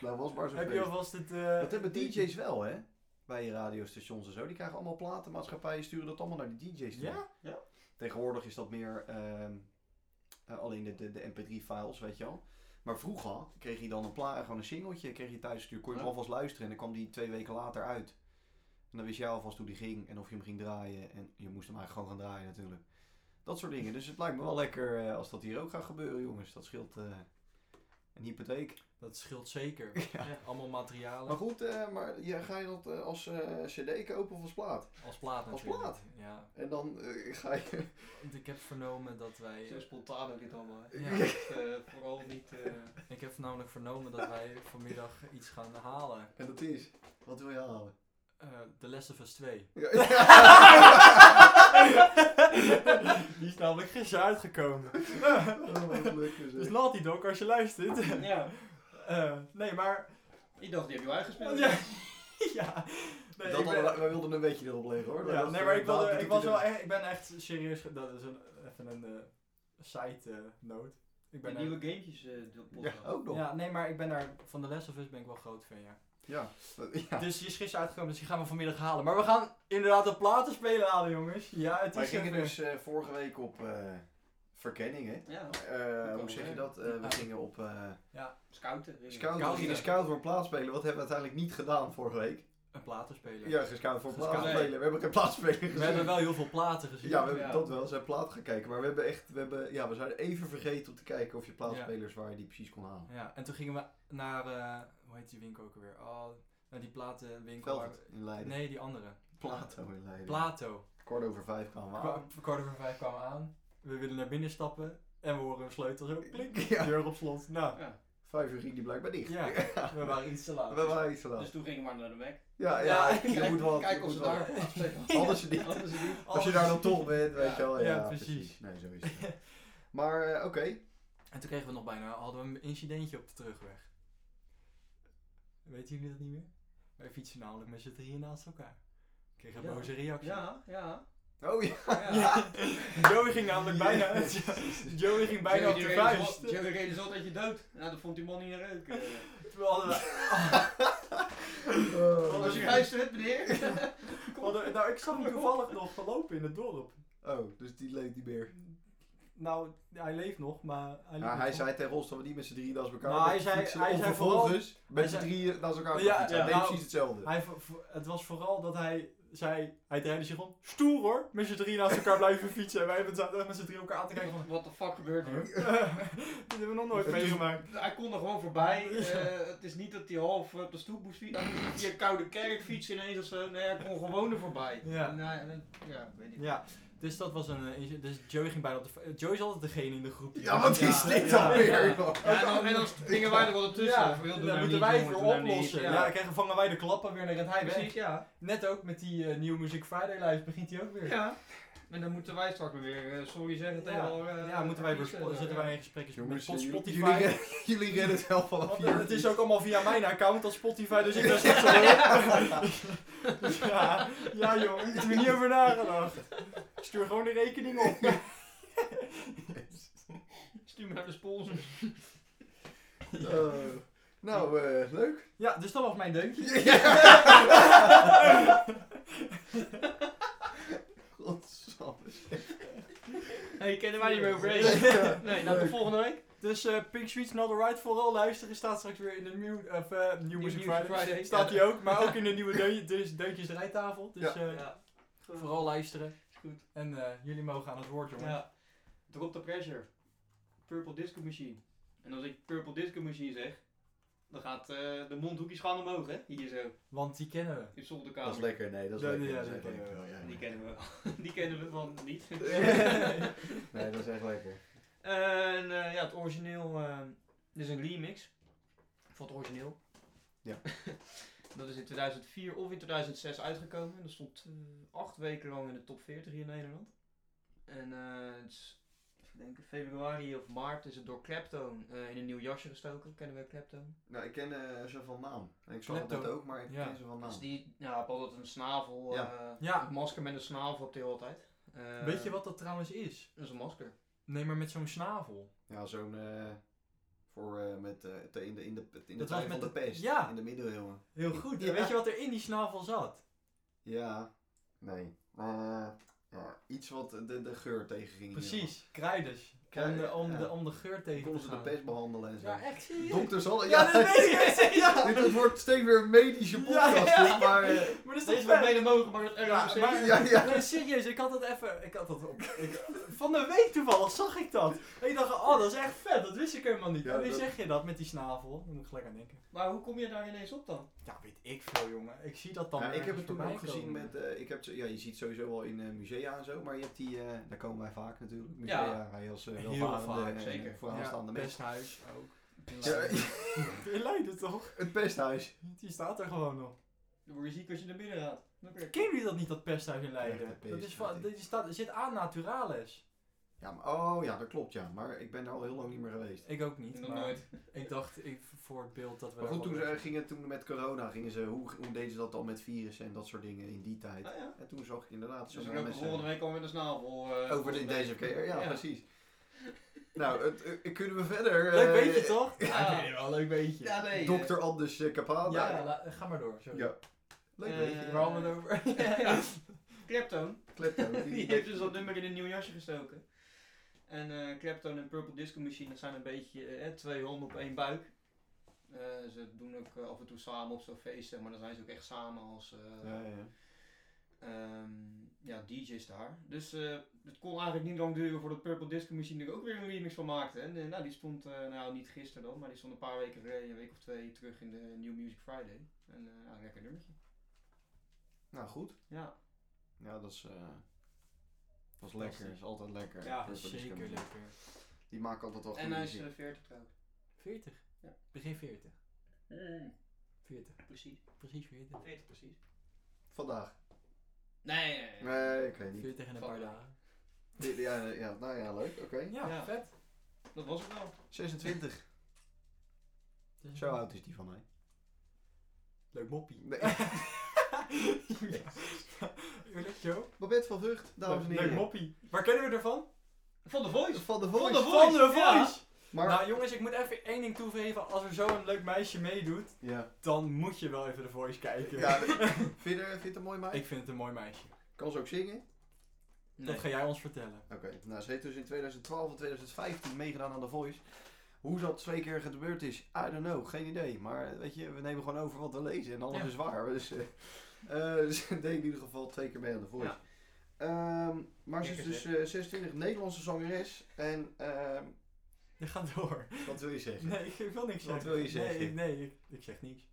B: Nou, was maar zo
A: Heb je
B: feest.
A: alvast het... eh,
B: Dat hebben DJ's wel, hè? Bij radiostations en zo. Die krijgen allemaal platenmaatschappijen, sturen dat allemaal naar die DJ's toe.
A: Ja?
E: Ja.
B: Tegenwoordig is dat meer ehm, eh, alleen de, de, de MP3-files, weet je wel. Maar vroeger kreeg je dan een plaat, gewoon een singeltje, kreeg je thuis sturen, kon je hem
E: Ja.
B: alvast luisteren en dan kwam die twee weken later uit. En dan wist jij alvast hoe die ging en of je hem ging draaien. En je moest hem eigenlijk gewoon gaan draaien natuurlijk. Dat soort dingen. Dus het lijkt me wel lekker eh, als dat hier ook gaat gebeuren, jongens. Dat scheelt eh, een hypotheek.
A: Dat scheelt zeker. Ja, Allemaal materialen.
B: Maar goed, eh, maar ja, ga je dat eh, als eh, cd kopen of als plaat?
A: Als plaat
B: Als
A: natuurlijk.
B: plaat?
A: Ja.
B: En dan eh, ga je...
A: Want ik heb vernomen dat wij...
C: Zo spontaan ook dit allemaal. hè.
A: Ja.
C: Echt, eh, vooral niet. eh,
A: Ik heb namelijk vernomen dat wij vanmiddag iets gaan halen.
B: En dat is... Wat wil je halen?
A: Eh The Last of Us 2.
B: Ja,
A: Die is namelijk gisteren uitgekomen.
B: Oh, wat lekker
A: Dus
B: zeg.
A: Naughty Dog, als je luistert.
C: ja.
A: Eh, nee, maar...
C: Ik dacht, die heb je uitgespeeld.
A: Ja. ja. Nee,
B: dat
A: ik ben-
B: hadden we- wij wilden een beetje erop leggen hoor.
A: ja,
B: Dat-
A: nee, maar ik, wilde-
B: dat-
A: ik, was wel echt, ik ben echt serieus... ge- Dat is een, even een eh, site-note. ik
C: De
A: ben
C: nieuwe
A: er-
C: gametjes eh de
B: Ja,
C: podcast.
B: ook nog. Ja.
A: ja, nee, maar ik ben daar... Van The Last of Us ben ik wel groot fan, ja.
B: Ja.
A: Dus die is gisteren uitgekomen, dus die gaan we vanmiddag halen. Maar we gaan inderdaad een platenspeler halen, jongens. Ja, het
B: Wij
A: is...
B: gingen
A: even-
B: dus eh, vorige week op eh, verkenning hè.
C: Ja.
B: Eh,
E: Ook
B: hoe
E: al,
B: zeg
E: hè?
B: je dat? Eh, we gingen op eh
C: Scouten. weet ik
B: scout.
A: Scouten.
B: We gingen scout voor plaatsspelen. Wat hebben we uiteindelijk niet gedaan vorige week?
A: Een platenspeler.
B: Ja, gescout voor
A: Gescout.
B: plaatsspelen. We hebben geen plaatsspelen gezien.
A: We hebben wel heel veel platen gezien.
B: Ja, we hebben
C: Ja.
B: dat wel. We zijn plaat gaan kijken. Maar we hebben echt, we hebben, ja, we zijn even vergeten om te kijken of je plaatspelers waar je die precies kon halen.
A: Ja, en toen gingen we naar, eh, hoe heet die winkel ook alweer? Oh, naar die platenwinkel. waar
B: Velvet in
A: we-
B: Leiden.
A: nee, die andere.
B: Plato in Leiden.
A: Plato.
B: Kort over vijf kwamen we
A: Kwa-
B: aan.
A: Kwart over vijf kwamen we aan. We willen naar binnen stappen. En we horen een sleutel zo, klink,
B: Ja.
A: deur op slot. Nou,
C: Ja.
B: Vijf uur ging die blijkbaar dicht.
A: ja, we waren iets te laat.
B: We waren iets te laat.
C: Dus toen gingen we maar naar de Mac.
B: Ja,
A: Ja,
B: ja, je moet wel. je
E: Kijk of
B: moet
E: ze
B: wel.
E: daar afspelen.
B: Anders je niet.
C: Anders is het
A: Dus
C: niet.
B: Als je daar dan toch bent, weet
E: Ja.
B: je wel. Ja,
A: Ja,
B: precies.
A: precies.
B: Nee, zo is het. wel. Maar eh, oké.
A: En toen kregen we nog bijna, hadden we een incidentje op de terugweg. Weten jullie dat niet meer? Wij fietsen namelijk met z'n drieën naast elkaar. Ik kreeg een
C: Ja.
A: boze reactie.
C: Ja, ja.
B: Oh ja.
A: Ja. Joey ging namelijk bijna uit. Joey ging bijna op de vuist.
C: Jerry reden zo dat je dood. Nou, dat vond die man niet aan reuk. eh.
A: We hadden,
B: Oh.
C: Als je luistert, meneer.
A: we hadden- nou, ik zag hem toevallig nog gelopen in het dorp.
B: Oh, dus die leeft niet meer.
A: Nou, hij leeft nog, maar hij, liep
B: Ja,
A: nog
B: hij
A: gewoon.
B: zei tegen ons dat we niet met z'n drieën naast elkaar
A: Nou,
B: mochten
A: hij zei-
B: fietsen,
A: hij
B: om
A: zei oh,
B: vervolgens dus, met z'n
A: hij zei-
B: drieën naast elkaar
A: Ja,
B: ja, fietsen.
A: ja,
B: Hij deed
A: nou,
B: precies hetzelfde.
A: Hij ver- ver- het was vooral dat hij zei, hij draaide zich om. Stoer hoor, met z'n drie naast elkaar blijven fietsen. En wij hebben zaten met z'n drie elkaar aan te kijken van...
C: Wat de fuck gebeurt hier?
A: eh, Dit hebben we nog nooit
B: Het is-
A: meegemaakt.
C: Hij kon er gewoon voorbij. Eh, het is niet dat hij half op de stoep moest fietsen. Hij moest niet via koude kerk fietsen ineens of zo. Nee, hij kon gewoon er voorbij.
A: Ja.
C: En hij- en- ja, ik weet niet.
A: Ja, dus dat was een... eh, inc- Dus Joey ging bijna op de... v- Joey is altijd degene in de groep. die-
B: Ja, wat is
A: Ja,
B: dit
A: ja,
B: dan weer?
A: ja.
B: joh?
C: Ja, en dan, en dan dingen wij er wel tussen.
A: Ja,
C: Van, joh, doe
A: dan
C: nou
A: moeten
C: niet,
A: wij het
C: jongen,
A: weer
C: doe nou niet.
A: oplossen. Ja, dan krijgen, vangen wij de klappen weer naar het hij weg.
C: precies, ja.
A: Net ook met die eh, New Music Friday lijst begint hij ook weer.
C: Ja. En dan moeten wij straks maar weer eh, sorry zeggen tegen
A: Ja.
C: al, eh,
A: Ja, moeten wij weer
C: artiesten.
A: spo- zitten wij in gesprekjes met
B: Jongens,
A: pot-
B: jullie-
A: Spotify.
B: Jullie, redden- jullie redden het wel vanaf
A: Want,
B: hier.
A: eh, het is ook allemaal via mijn account als Spotify, dus ik ben straks al ja, ja joh, ik heb er niet over nagedacht. Ik Stuur gewoon de rekening op.
C: Stuur maar de sponsor.
B: Eh, nou, eh, leuk.
A: Ja, dus dat was mijn deuntje.
B: Godsamme.
C: hey, kennen wij niet meer overheen. Nee, nou tot volgende week.
A: Dus eh, Pink Sweet's Not Alright vooral luisteren staat straks weer in de new, of, eh, new, Music
C: Music
A: Friday.
C: Friday.
A: Staat
C: Ja.
A: die ook, maar ook in de nieuwe deuntje, dus deuntjes de rijtafel. Dus
B: Ja.
A: eh,
C: Ja.
A: vooral luisteren.
C: Is goed.
A: En eh, jullie mogen aan het woord, jongen.
C: Ja.
E: Drop the pressure.
C: Purple Disco Machine. En als ik Purple Disco Machine zeg, dan gaat eh, de mondhoekjes gaan omhoog, hè? Hier zo,
A: Want die kennen we.
C: in de zolderkamer.
B: Dat is lekker, nee, dat is
A: Ja,
B: lekker.
A: ja,
B: dat is echt
A: dat ken ik
B: lekker.
A: wel,
B: Ja, ja.
C: Die kennen we wel. Die kennen we van niet.
B: Nee, dat is echt lekker.
C: en eh, ja, het origineel, eh, dit is een remix van het origineel.
B: Ja.
C: dat is in 2004 of in 2006 uitgekomen. En dat stond eh, acht weken lang in de top 40 hier in Nederland. En eh, het is, even denken, februari of maart is het door Clapton eh, in een nieuw jasje gestoken. Kennen we Clapton?
B: Nou, ik ken eh, ze van naam. Ik zag het net
A: Klepto.
B: ook, maar ik
A: Ja.
B: ken ze van naam.
C: Dus die, ja, had altijd een snavel,
B: Oh. Ja.
C: eh,
A: Ja.
C: een masker met een snavel op de hele tijd. Eh,
A: Weet je wat dat trouwens is?
C: Dat is een masker.
A: Nee, maar met zo'n snavel.
B: Ja, zo'n... eh, voor eh, met, eh, te- in de, in de, in de
A: Dat
B: tijd
A: was
B: van
A: met
B: de
A: de-
B: pest.
A: ja.
B: In de middeleeuwen.
A: Heel goed.
B: Ja.
A: Weet je wat er in die snavel zat?
B: Ja. Nee. Eh, ja, iets wat de, de geur tegenging.
A: Precies, kruiders. Om
B: Kruiden,
A: de, om,
B: ja.
A: de, om de geur tegen
B: Konden
A: te
B: ze de
A: gaan.
B: pest behandelen en zo.
A: Ja, echt serieus.
B: Dokters hadden...
A: Ja, dat weet ik. Ja.
B: Dit wordt steeds weer een medische
A: Ja,
B: podcast,
A: ja,
B: dit,
A: ja.
B: maar... eh,
A: Maar dat is toch
C: Deze wordt
A: vet?
C: mede mogelijk gemaakt door
A: Ja,
C: ROC.
A: maar-
B: ja, ja.
A: Nee, serieus, ik had dat even... Ik had dat op, ik- van de week toevallig zag ik dat. En ik dacht, oh, dat is echt vet. Dat wist ik helemaal niet.
B: Ja,
A: en nu
B: dat-
A: zeg je dat met die snavel. Daar moet ik gelijk aan denken.
C: Maar hoe kom je daar ineens op dan?
A: Ja, weet ik veel, jongen. Ik zie dat dan
B: Ja, ik heb
A: ergens
B: het toen
A: eh, voorbij
B: ook gezien
A: komen.
B: met. eh, ik heb, ze- ja, je ziet sowieso wel in eh, musea en zo, maar je hebt die. eh, daar komen wij vaak natuurlijk. Musea,
C: Ja.
B: wij als uh,
A: Heel vaak,
B: welvarende
C: zeker.
B: en vooraanstaande
A: ja,
B: mensen.
A: pesthuis ook. In
B: Ja,
A: Leiden. In Leiden, toch?
B: het pesthuis.
A: Die staat er gewoon nog.
C: Dan word je ziek als je naar binnen gaat. Dan kun je-
A: Kennen jullie dat niet, dat pesthuis in Leiden?
B: Ja, dat
A: dat is van,
B: pesthuis.
A: dat staat, zit aan Naturalis.
B: Ja, maar, oh ja, dat klopt ja, maar ik ben er al heel lang niet meer geweest.
A: Ik ook niet.
C: Nog
A: maar
C: nooit.
A: Ik dacht ik, voor het beeld dat we.
B: Maar
A: daar
B: goed, toen,
A: wel-
B: ze, eh, gingen, toen met corona gingen ze, hoe, hoe deden ze dat dan met virussen en dat soort dingen in die tijd?
C: Ah ja.
B: En toen zag je inderdaad
C: Dus
B: zo'n
C: dan lopen we volgende week al met een snavel. eh,
B: over de,
C: volgende
B: deze
C: week.
B: keer, ja, precies. Nou, het, eh, kunnen we verder?
A: Leuk
B: eh,
A: beetje toch?
C: Ja.
A: ik vind het wel een leuk beetje.
C: Ja, nee. eh,
B: Dokter Anders eh, Kapaan.
A: Ja,
C: ja.
A: la- ga maar door. Sorry.
B: Ja. Leuk
C: Eh,
B: beetje.
A: Waar hadden we het over?
C: ja. Clapton,
B: Klepto,
C: die heeft dus dat nummer in een nieuw jasje gestoken. En eh Clapton en Purple Disco Machine, dat zijn een beetje eh, twee honden op één buik. Eh, ze doen ook eh, af en toe samen op zo'n feest, zeg maar dan zijn ze ook echt samen als eh,
B: Ja, ja.
C: ehm, ja, DJ's daar. Dus eh, het kon eigenlijk niet lang duren voordat Purple Disco Machine er ook weer een remix van maakte. En eh, nou, die stond, eh, nou niet gisteren dan, maar die stond een paar weken geleden, een week of twee, terug in de New Music Friday. En eh, ja, een lekker nummertje.
B: Nou goed.
C: Ja,
B: Ja, dat is, eh, dat is lekker. Dat is altijd lekker.
A: Ja,
B: Purple Disco
A: zeker
B: Machine.
A: lekker.
B: Die maken altijd wel
C: en
B: goede
C: hij is
B: muziek.
C: eh, 40 trouwens.
A: 40.
C: Ja.
A: Begin 40.
C: Mm,
A: 40.
C: precies.
A: Precies 40.
C: 40 precies.
B: Vandaag.
C: Nee, nee, nee.
B: Nee, ik weet niet.
A: 40 en een
C: Fuck.
A: paar dagen.
B: Dit- Ja, eh, ja, nou ja, leuk. Oké.
A: Ja,
C: Ja.
A: vet.
C: dat was het wel.
B: 26.
A: Dus-
B: Zo oud is die van mij.
A: Leuk moppie.
B: Nee.
A: Leuk, joh.
B: Wat Babette van Vught, dames en
A: Leuk
B: heren.
A: moppie. Waar kennen we ervan?
C: Van de Voice.
B: Van de
C: Van de
B: Voice.
C: Voice.
A: Van de
C: ja.
A: Voice!
B: Maar,
A: Nou jongens, ik moet even één ding toegeven. Als er zo'n leuk meisje meedoet,
B: ja.
A: dan moet je wel even de Voice kijken.
B: ja vind, je, er- vind je het een mooi meid?
A: Ik vind het een mooi meisje.
B: Kan ze ook zingen?
A: Dat ga jij ons vertellen.
B: Oké, nou ze heeft dus in 2012 en 2015 meegedaan aan The Voice. Hoe dat twee keer gebeurd is, I don't know, geen idee. Maar eh, weet je, we nemen gewoon over wat we lezen en alles
A: Ja.
B: is waar. Dus, eh, eh, ze deed in ieder geval twee keer mee aan The Voice.
C: Ja.
B: Ehm, maar ze is
A: Lekker
B: dus eh, 26, Nederlandse zangeres. En ehm,
A: Je gaat door.
B: wat wil je zeggen?
A: Nee, ik wil niks zeggen.
B: Wat wil je zeggen?
A: Nee, ik- nee ik, ik zeg niks.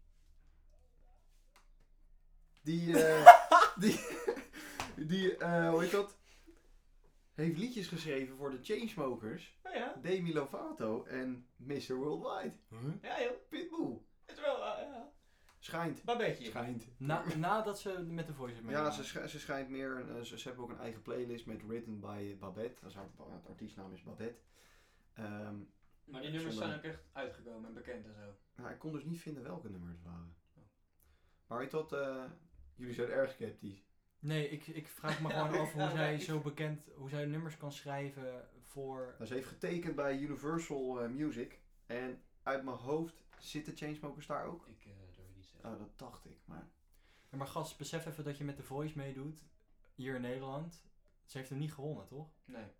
B: Die, eh, die, die eh, hoe heet dat? Heeft liedjes geschreven voor de Chainsmokers,
C: Oh ja.
B: Demi Lovato en Mr. Worldwide.
C: Ja joh.
B: Pitbull.
C: Het is wel, eh, ja.
B: Schijnt.
C: Babetje.
B: Schijnt.
A: Na, nadat ze met de voice heeft
B: Ja,
A: meegedaan.
B: ze, sch- ze schijnt meer. eh, ze, ze hebben ook een eigen playlist met Written by eh, Babette. Dat is haar, haar artiestnaam is Babette. Ehm,
C: Maar die nummers zijn ook echt uitgekomen en bekend en zo.
B: nou, ik kon dus niet vinden welke nummers het waren. Maar weet je wat? eh, jullie zijn erg sceptisch.
A: Nee, ik, ik vraag me
C: Ja,
A: gewoon af hoe
C: ja,
A: zij
C: ik-
A: zo bekend, hoe zij nummers kan schrijven voor...
B: Nou, ze heeft getekend bij Universal eh, Music. En uit mijn hoofd zitten Chainsmokers daar ook.
E: Ik
C: eh,
E: durf het niet
C: Ah.
E: zeggen.
B: Oh, dat dacht ik. Maar
A: Ja, maar gast, besef even dat je met de voice meedoet, hier in Nederland. Ze heeft hem niet gewonnen, toch?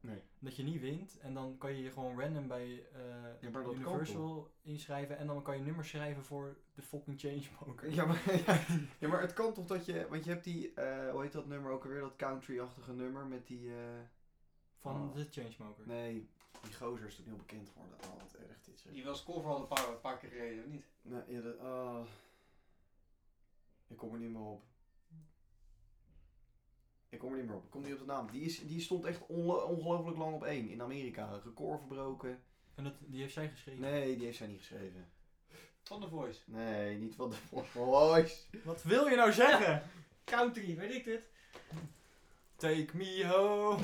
C: Nee.
A: Dat je niet wint en dan kan je je gewoon random bij eh,
B: Ja, maar dat
A: Universal inschrijven en dan kan je nummers schrijven voor de fucking Chainsmoker.
B: Ja, maar, ja, maar het kan toch dat je. Want je hebt die. eh, hoe heet dat nummer ook alweer? Dat country-achtige nummer met die. eh,
A: Van
B: Oh.
A: de Chainsmoker.
B: nee, die gozer is toen heel bekend geworden. Oh, wat erg dit zeg.
C: Die was cover al een paar, een paar keer gereden, of niet?
B: Nee, ja, dat, ah. Ik kom er niet meer op. Ik kom er niet meer op. Ik kom niet op de naam. Die, is, die stond echt onlo- ongelooflijk lang op één in Amerika. Record verbroken.
A: En dat, die heeft zij geschreven.
B: Nee, die heeft zij niet geschreven.
C: Van de Voice.
B: Nee, niet van de Voice.
A: Wat wil je nou zeggen?
C: Country, weet ik dit.
A: Take me home.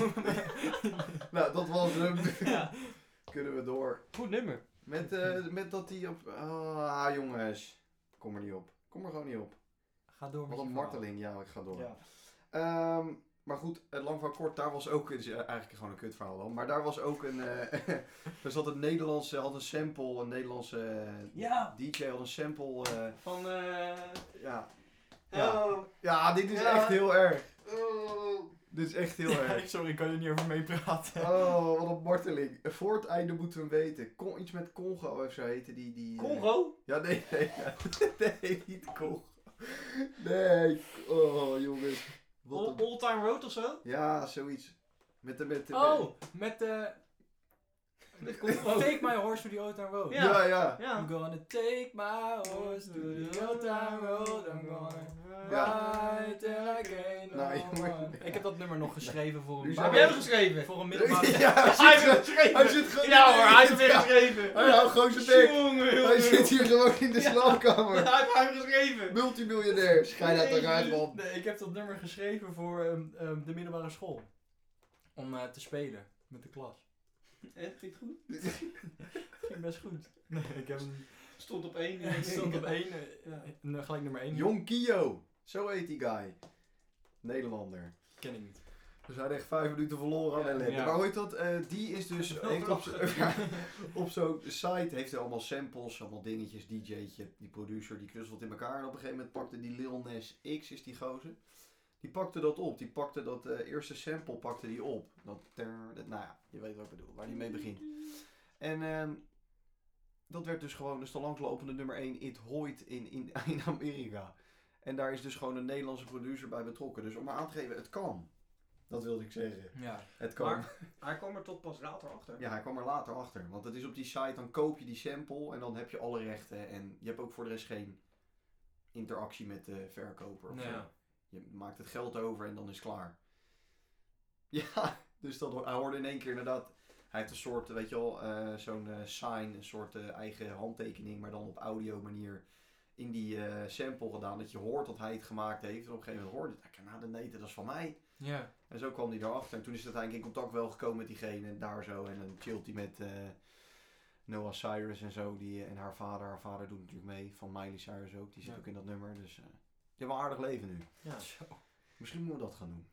B: nou, dat was hem.
C: Ja.
B: Kunnen we door.
C: Goed nummer.
B: Met, eh, met dat die op... Ah, jongens. Kom er niet op. Kom er gewoon niet op.
A: Ga door met
B: Wat een
A: je
B: marteling. Ja, ik ga door.
A: verhaal.
B: Ehm, maar goed, eh, lang van kort, daar was ook, het is eh, eigenlijk gewoon een kutverhaal dan, maar daar was ook een, eh, er zat een Nederlandse, had een sample, een Nederlandse eh,
C: Ja.
B: DJ had een sample, eh,
C: Van, eh...
B: ja. Ja.
C: Oh.
B: ja, dit is
C: Ja.
B: echt heel erg,
C: oh.
B: dit is echt heel
A: Ja.
B: erg.
A: sorry, ik kan er niet over meepraten.
B: Oh, wat een marteling. Voor het einde moeten we hem weten. Kon, iets met Congo of zo heette die. die eh,
C: Congo?
B: Ja, nee, nee. nee, niet Congo. Nee. Oh, jongens. Wat
C: All,
B: een...
C: All Time Road of zo?
B: Ja, zoiets. Met de... Met de
A: Oh, met de...
C: Met
A: Take
C: Congo.
A: my horse to the old town road.
C: Ja.
B: ja. ja.
A: I'm
C: Ja.
A: gonna take my horse to the old town road. I'm gonna ride till I can't
B: Nou,
A: no
B: jongen.
A: more. Ik heb dat nummer nog geschreven voor een
B: Nu
C: Maar
B: zijn
C: heb jij hem
A: baan.
C: geschreven?
A: Voor een middelbare...
B: Ja,
C: Hij
B: hij
C: heeft hem
B: zit,
C: geschreven!
B: hij zit gewoon.
C: ja hoor, hij heeft hem
B: zit
C: weer geschreven!
B: Hij houdt gewoon zijn bek.
C: Jongen, jongen,
B: Hij zit
C: jongen.
B: hier gewoon in de
C: Ja.
B: slaapkamer.
C: Hij heeft hem geschreven!
B: Multimiljonair. Schijn uit
C: Nee,
B: eruit, man.
A: Nee, ik heb dat nummer geschreven voor ehm, ehm, de middelbare school. Om eh, te spelen met de klas.
C: Echt, ging het goed?
A: Ging best goed. Nee, ik heb hem...
C: Stond op één.
A: Ik stond op één. eh,
C: Ja.
A: eh, Gelijk nummer één.
B: Jong Kio. Zo heet die guy. Nederlander.
A: Ken ik niet.
B: We zijn echt vijf minuten verloren aan
C: Ja.
B: ellende.
A: Ja.
B: Maar hoe heet dat? Eh, die is dus heeft op, op zo'n site heeft hij allemaal samples, allemaal dingetjes, DJ'tje, die producer, die knuzzelt in elkaar. En op een gegeven moment pakte die Lil Nas X, is die gozer, die pakte dat op. Die pakte dat eh, eerste sample, pakte die op. Dat, ter- dat, nou ja, je weet wat ik bedoel, waar die mee begint. En ehm, dat werd dus gewoon, dus de langslopende nummer 1 It Hoyt in, in, in Amerika. En daar is dus gewoon een Nederlandse producer bij betrokken. Dus om maar aan te geven, het kan. Dat wilde ik zeggen.
A: Ja.
B: Het kan.
C: Maar- Hij kwam er tot pas later achter.
B: Ja, hij kwam er later achter. Want het is op die site, dan koop je die sample en dan heb je alle rechten. En je hebt ook voor de rest geen interactie met de verkoper. of
A: Nee.
B: zo. Je maakt het geld over en dan is het klaar. Ja, dus dat, ho- hij hoorde in één keer inderdaad. Hij heeft een soort, weet je wel, eh, zo'n eh, sign, een soort eh, eigen handtekening, maar dan op audio manier in die eh, sample gedaan. Dat je hoort dat hij het gemaakt heeft. En op een gegeven moment hoorde hij, nou, de neten, dat is van mij.
A: Ja.
B: En zo kwam hij erachter. En toen is het eigenlijk in contact wel gekomen met diegene en daar zo. En dan chillt hij met eh, Noah Cyrus en zo. Die, eh, en haar vader. Haar vader doet natuurlijk mee. Van Miley Cyrus ook. Die zit
A: Ja.
B: ook in dat nummer. Dus eh die hebben een aardig leven nu.
A: Ja. Zo.
B: Misschien moeten we dat gaan doen.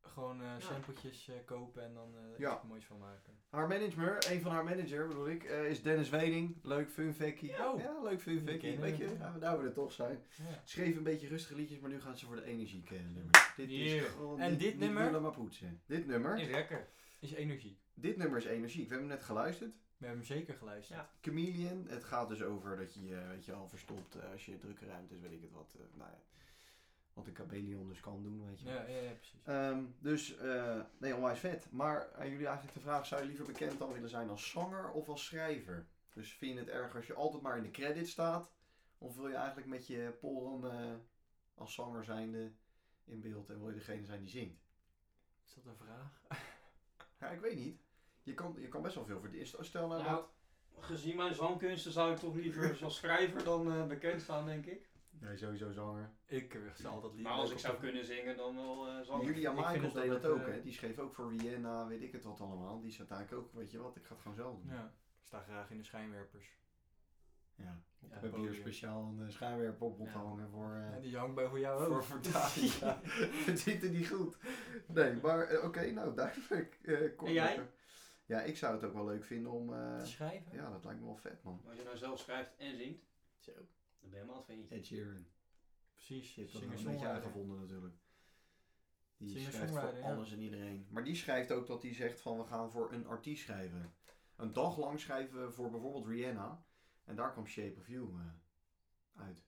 A: Gewoon eh
C: Ja.
A: sampletjes eh, kopen en dan eh er
B: Ja.
A: iets moois van maken.
B: Haar manager, een van haar manager bedoel ik, eh, is Dennis Wening. Leuk fun factje.
A: Ja.
B: Ja, leuk fun
A: Die
B: factje.
A: kennen
B: Weet
A: we.
B: je, ja, nou we er toch zijn.
A: Ja.
B: Schreef een beetje rustige liedjes, maar nu gaan ze voor de energie nummer. Dit
A: Yeah.
B: is gewoon
A: En
B: niet-
A: dit
B: niet
A: nummer?
B: lullen, maar poetsen. Dit nummer,
C: Is lekker.
A: Is energie.
B: dit nummer is energiek. We hebben hem net geluisterd.
A: We hebben hem zeker geluisterd.
C: Ja.
B: Chameleon, het gaat dus over dat je je weet je al verstopt eh, als je drukke ruimtes, weet ik het wat. eh, nou ja, wat een chameleon dus kan doen, weet je wel.
A: Ja, ja, ja, precies.
B: Ehm, dus, eh, nee, onwijs vet. Maar aan jullie eigenlijk de vraag, zou je liever bekend dan willen zijn als zanger of als schrijver? Dus vind je het erg als je altijd maar in de credit staat? Of wil je eigenlijk met je poren eh, als zanger zijnde in beeld en wil je degene zijn die zingt?
A: Is dat een vraag?
B: Ja, ik weet niet. Je kan, je kan best wel veel verdienen. Stel nou,
C: Nou,
B: dat...
C: gezien mijn zangkunsten zou ik toch liever als schrijver dan eh, bekend staan, denk ik.
B: Nee, sowieso zanger.
A: Ik eh, zal dat liever.
C: Maar als
A: ook
C: ik
A: op
C: zou
A: de-
C: kunnen zingen, dan wel eh zanger.
B: Julia
A: ik vind
B: Michaels
A: het
B: deed dat
A: altijd,
B: ook,
A: eh,
B: hè. Die schreef ook voor Rihanna, weet ik het wat allemaal. Die zat eigenlijk ook, weet je wat, ik ga het gewoon zelf doen.
A: Ja. Ik sta graag in de schijnwerpers.
B: Ja. Ik
A: het
B: heb hier
A: podium.
B: speciaal een eh, schijnwerper op moeten
A: Ja.
B: hangen voor... eh,
A: En die hangt bij voor jou ook.
B: Voor vertaling, ja. Het ziet er niet goed. Nee, maar eh, oké, nou duidelijk. Eh, kort
C: En jij?
B: even. Ja, ik zou het ook wel leuk vinden om... eh,
A: Te schrijven?
B: ja, dat lijkt me wel vet, man.
C: Maar Als je nou zelf schrijft en zingt,
A: Zo.
C: dan ben je helemaal het ventje.
B: Ed Sheeran.
A: Precies.
B: Je hebt dat
A: Singer
B: nog een beetje
A: songwriter.
B: aangevonden natuurlijk. Die schrijft voor
A: Singer-songwriter, ja.
B: alles en iedereen. Maar die schrijft ook dat hij zegt van we gaan voor een artiest schrijven. Een dag lang schrijven we voor bijvoorbeeld Rihanna. En daar kwam Shape of You eh, uit.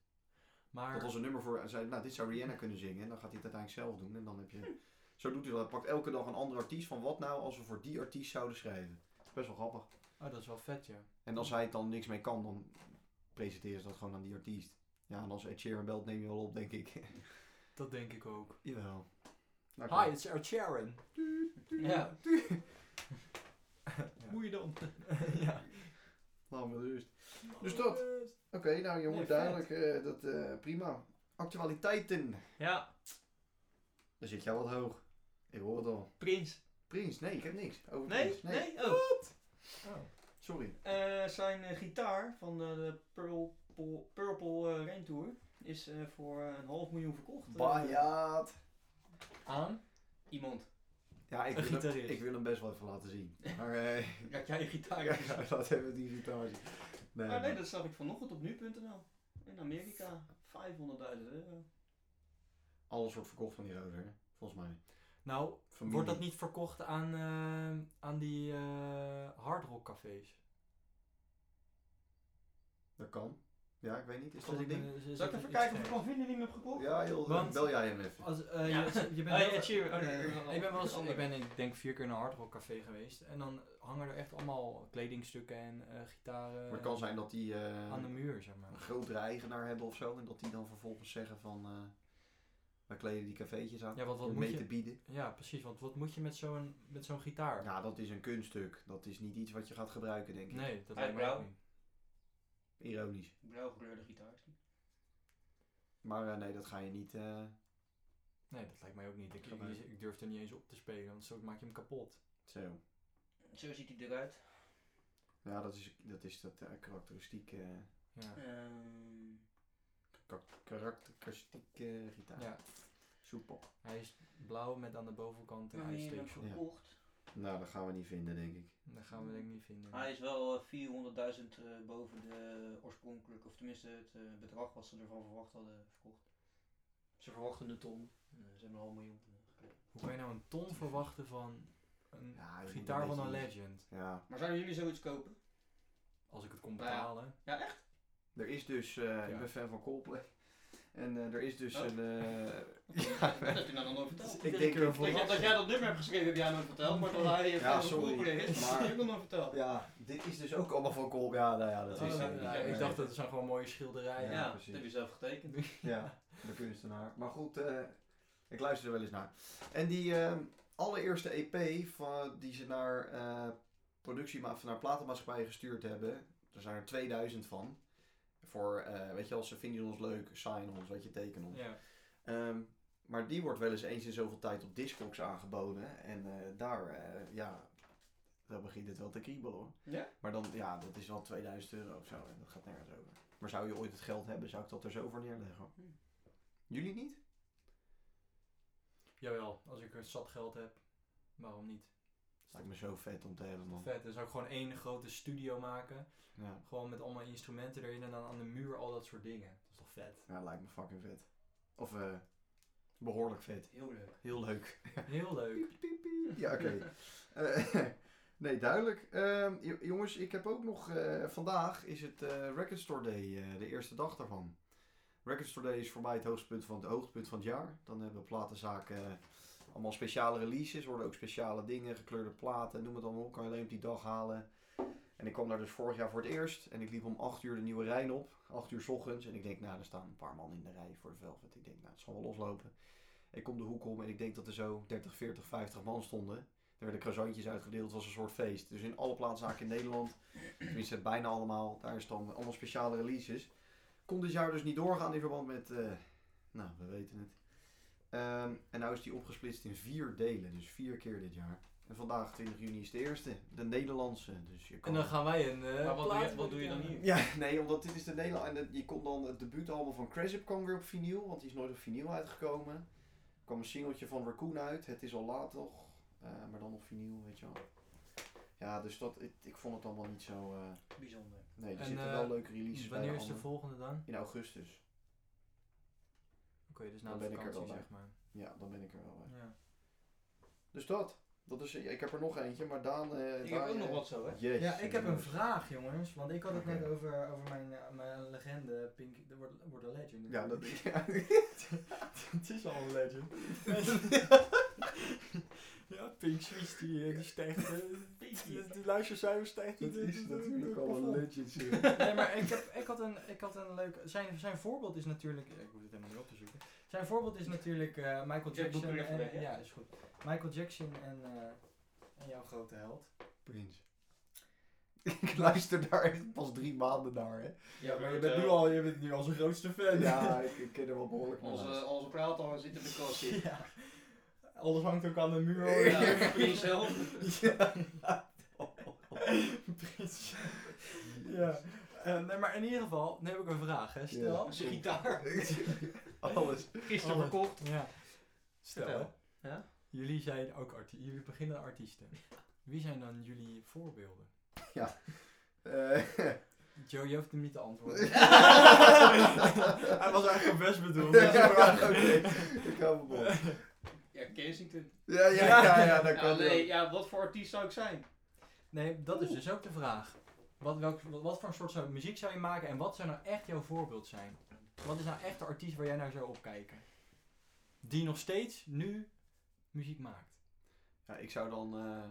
A: Maar
B: Dat was een nummer voor. Hij zei, nou, dit zou Rihanna kunnen zingen. En dan gaat hij het uiteindelijk zelf doen. En dan heb je. Zo doet hij dat. Hij pakt elke dag een andere artiest. Van wat nou als we voor die artiest zouden schrijven? Best wel grappig.
A: Oh, dat is wel vet, ja.
B: En als hij het dan niks mee kan, dan presenteren ze dat gewoon aan die artiest. Ja, en als Ed Sheeran belt, neem je wel op, denk ik.
A: Dat denk ik ook.
B: Jawel. Nou,
A: Hi, it's Ed Sharon. Ja.
C: Hoe je dan?
A: ja.
B: Laat me rust. Dus dat. Oké, nou jongen,
A: Nee, vet.
B: duidelijk. eh, dat, eh, prima. Actualiteiten.
C: Ja,
B: Daar zit jij wat hoog. Ik hoor het al.
C: Prins.
B: Prins, nee, ik heb niks. Over
C: Nee?
B: Prins.
C: Nee? Oh.
A: Oh.
B: Sorry.
C: Eh, zijn eh, gitaar van eh, de Purple, Purple eh, Rain Tour is eh, voor eh, een half miljoen verkocht. Eh,
B: Bajaat.
A: Aan?
C: Iemand.
B: Ja, ik
A: Een
B: wil, hem,
A: gitarist.
B: ik wil hem best wel even laten zien. Maar eh,
C: Dat jij je gitaar
B: ja,
C: hebt.
B: dat hebben we die gitaar zien. Nee,
C: Ah, nee,
B: maar-
C: dat zag ik vanochtend op nu.nl. In Amerika. 500.000 euro.
B: Alles wordt verkocht van die rover, hè? volgens mij.
A: Nou,
B: Familie.
A: wordt dat niet verkocht aan, eh, aan die eh hardrock cafés?
B: Dat kan. Ja, ik weet niet. Is dat
A: Zit
B: een
A: ik
B: ding?
A: met- zit
C: Zal ik
A: met
C: even
A: iets
C: kijken of ik
A: gek?
C: kan vinden die hem heb gekocht?
B: Ja, heel
A: Oh.
B: eh,
A: Want-
B: bel jij hem even.
A: Als, eh,
C: Ja.
A: je, je bent
C: Hey,
A: wel-
C: Ed Sheeran. Oh, nee,
A: Nee,
C: nee, nee.
A: ik ben wel eens,
C: Ander.
A: ik ben ik denk vier keer naar een hardrock café geweest. En dan hangen er echt allemaal kledingstukken en eh, gitaren
B: maar het kan zijn dat die eh,
A: aan de muur, zeg maar.
B: een grotere eigenaar hebben of zo. En dat die dan vervolgens zeggen van... eh wij kleden die cafeetjes aan.
A: Ja, want wat
B: om
A: moet
B: mee
A: je...
B: te bieden.
A: Ja, precies. Want wat moet je met zo'n met zo'n gitaar?
B: Ja, dat is een kunststuk. Dat is niet iets wat je gaat gebruiken, denk ik.
A: Nee, dat
C: Hij
A: lijkt mij ook
C: blauw.
A: niet.
B: Ironisch.
C: Blauwgekleurde gitaar.
B: Maar eh, nee, dat ga je niet... eh,
A: Nee, dat lijkt mij ook niet. Ik, ik,
B: Gebruik.
A: ik durf er niet eens op te spelen, want zo maak je hem kapot.
B: zo...
C: Zo ziet hij eruit.
B: Ja, dat is dat, is dat eh, karakteristiek, eh,
A: Ja.
C: Ehm,
B: kak- karakteristiek eh, gitaar.
A: ja.
B: Soepel.
A: Hij is blauw met aan de bovenkant een
C: wanneer heb je hem
A: ijssteekje.
C: gekocht?
B: Nou, dat gaan we niet vinden, denk ik.
A: Dat gaan we denk ik niet vinden.
C: Hij is wel eh, 400.000 eh, boven de oorspronkelijke, of tenminste het eh, bedrag wat ze ervan verwacht hadden verkocht. Ze verwachten een ton. Eh, ze hebben een half miljoen.
A: Hoe kan je nou een ton verwachten van een
B: Ja, je moet
A: gitaar
B: een
A: van een
B: beetje-
A: legend?
B: Ja,
C: Maar zouden jullie zoiets kopen?
A: Als ik het kon
C: Nou ja.
A: betalen.
C: Ja, echt?
B: er is dus... eh, Ik ben fan van Coldplay. En eh, er is dus
C: Oh.
B: een... eh,
C: Dat heb je nou nog nooit verteld.
B: ik denk er
C: Ik had dat jij dat nummer hebt geschreven, heb jij nooit verteld. Maar dat hij het
B: Ja,
C: van de
B: sorry.
C: vroeger is, dat
B: Maar-
C: heb ik nog nooit verteld.
B: Ja, dit is dus ook allemaal van Coldplay. Ja, nou ja, dat
A: Oh,
B: is...
A: ja,
B: eh,
A: ja,
B: nee.
A: ik dacht dat het zijn gewoon mooie
C: Ja,
A: schilderijen.
B: Ja,
C: dat
B: precies.
C: heb je zelf getekend.
B: Ja, de kunstenaar. Maar goed, eh, ik luister er wel eens naar. En die eh, allereerste EP van, die ze naar eh productiema- van naar platenmaatschappijen gestuurd hebben, er zijn er 2000 van. Voor, eh, weet je wel, ze vinden ons leuk, sign ons, weet je, teken ons.
A: Ja.
B: Ehm, maar die wordt wel eens eens in zoveel tijd op Discogs aangeboden. En eh, daar, eh, ja, dan begint het wel te kriebelen hoor.
C: Ja?
B: Maar dan, ja, dat is wel 2000 euro of zo. En dat gaat nergens over. Maar zou je ooit het geld hebben, zou ik dat er zo voor neerleggen.
C: Hm.
B: Jullie niet?
A: Jawel, als ik er zat geld heb, waarom niet?
B: Lijkt me zo vet om te hebben, man.
A: Vet, dus ook gewoon één grote studio maken.
B: Ja.
A: Gewoon met allemaal instrumenten erin en dan aan de muur al dat soort dingen. Dat is toch vet?
B: ja, lijkt me fucking vet. Of eh, behoorlijk vet.
C: Heel leuk.
B: Heel leuk.
A: Heel leuk.
B: Ja, oké. Eh, nee, duidelijk. Ehm, j- jongens, ik heb ook nog... eh, vandaag is het eh Record Store Day, eh, de eerste dag daarvan. Record Store Day is voor mij het hoogtepunt van het, hoogtepunt van het jaar. Dan hebben platenzaken eh, allemaal speciale releases. worden ook speciale dingen, gekleurde platen, noem het allemaal op. Kan je alleen op die dag halen. En ik kwam daar dus vorig jaar voor het eerst. En ik liep om 8 uur de Nieuwe Rijn op. 8 uur s ochtends. En ik denk, nou, er staan een paar man in de rij voor de Velvet. Ik denk, nou, het zal wel loslopen. Ik kom de hoek om en ik denk dat er zo 30, 40, 50 man stonden. Er werden croissantjes uitgedeeld, het was een soort feest. Dus in alle plaatszaken in Nederland, tenminste bijna allemaal, daar is dan allemaal speciale releases. Kon dit jaar dus niet doorgaan in verband met, eh, nou, we weten het. Ehm, en nou is die opgesplitst in vier delen, dus vier keer dit jaar. En vandaag, 20 juni, is de eerste, de Nederlandse. Dus je kan...
A: En dan gaan wij een. eh,
C: Maar wat doe je-
A: plaat
C: wat doe je dan
A: maken.
C: hier?
B: Ja, nee, omdat dit is de Nederland. En het- je kon dan het debuutalbum van Cresip kwam weer op vinyl, want die is nooit op vinyl uitgekomen. Er kwam een singeltje van Raccoon uit, Het is al laat toch, Eh, maar dan op vinyl, weet je wel. Ja, dus dat, ik, ik vond het allemaal niet zo. eh,
C: Bijzonder.
B: nee, er
A: En,
B: zitten
A: eh,
B: wel leuke releases bij.
A: Wanneer
B: de
A: is de
B: anderen.
A: volgende dan?
B: In augustus.
A: Oké, dus na
B: Dan
A: de
B: ben ik er
A: vakantie
B: wel bij.
A: zeg maar.
B: Ja, dan ben ik er wel bij.
A: Ja.
B: Dus dat. dat is, ik heb er nog eentje, maar Daan. eh,
C: Ik
B: Daan,
C: heb ook
B: eh,
C: nog wat zo, hè?
B: Yes,
A: ja, ik heb een
B: jongens.
A: vraag jongens, want ik had het
B: Oké.
A: net over, over mijn, eh, mijn legende, Pink, de wordt wordt een legend.
B: Ja, dat ja.
A: Het is al een legend. ja, Pink Swiss die, eh, die stijgt. eh, die, die luistercijfer stijgt
B: Dat
A: eh,
B: is
A: door- door-
B: natuurlijk
A: door
B: al een
A: plafond.
B: legend. serie.
A: Nee, maar ik, heb, ik, had een, ik had een leuk. Zijn, zijn voorbeeld is natuurlijk. Ik hoef het helemaal niet op te zoeken. Zijn voorbeeld is natuurlijk eh, Michael
C: Ja, ik doe
A: Jackson.
C: het weer even
A: en-
C: weg, hè?
A: ja, is goed. Michael Jackson en, eh, en jouw grote held.
B: Prins. ik luister daar echt pas drie maanden naar, hè.
C: Ja,
A: Maar je bent nu al, je bent nu al zijn grootste fan.
B: Ja, ik, ik ken er wel behoorlijk naar
C: Onze,
B: luisteren.
C: onze praaltanger zit in de kast hier.
A: Ja. Alles hangt ook aan de muur.
C: Ja, Prins zelf.
A: Prins. Ja. Eh, nee, maar in ieder geval, nu heb ik een vraag, hè. Stel.
B: Ja.
C: Zijn gitaar.
B: Alles.
C: Gisteren
A: Alles.
C: verkocht.
A: Ja. Stel,
C: Vertel.
A: hè.
C: Ja?
A: jullie zijn ook arti- jullie beginnen artiesten. Wie zijn dan jullie voorbeelden?
B: Eh,
A: Joe, je hoeft hem niet te antwoorden. Hij was eigenlijk best bedoeld. dus
B: ja,
A: ik vraag-
B: oké. Ik hou me op.
C: Ja, Kensington.
B: Ja, ja, ja, ja, dat
C: Ja,
B: kan
C: nee,
B: wel.
C: ja, wat voor artiest zou ik zijn?
A: Nee, dat is dus ook de vraag. Wat, welk, wat, wat voor soort zou- muziek zou je maken en wat zou nou echt jouw voorbeeld zijn? Wat is nou echt de artiest waar jij naar zou opkijken? Die nog steeds nu muziek maakt.
B: Ja, ik zou dan... eh,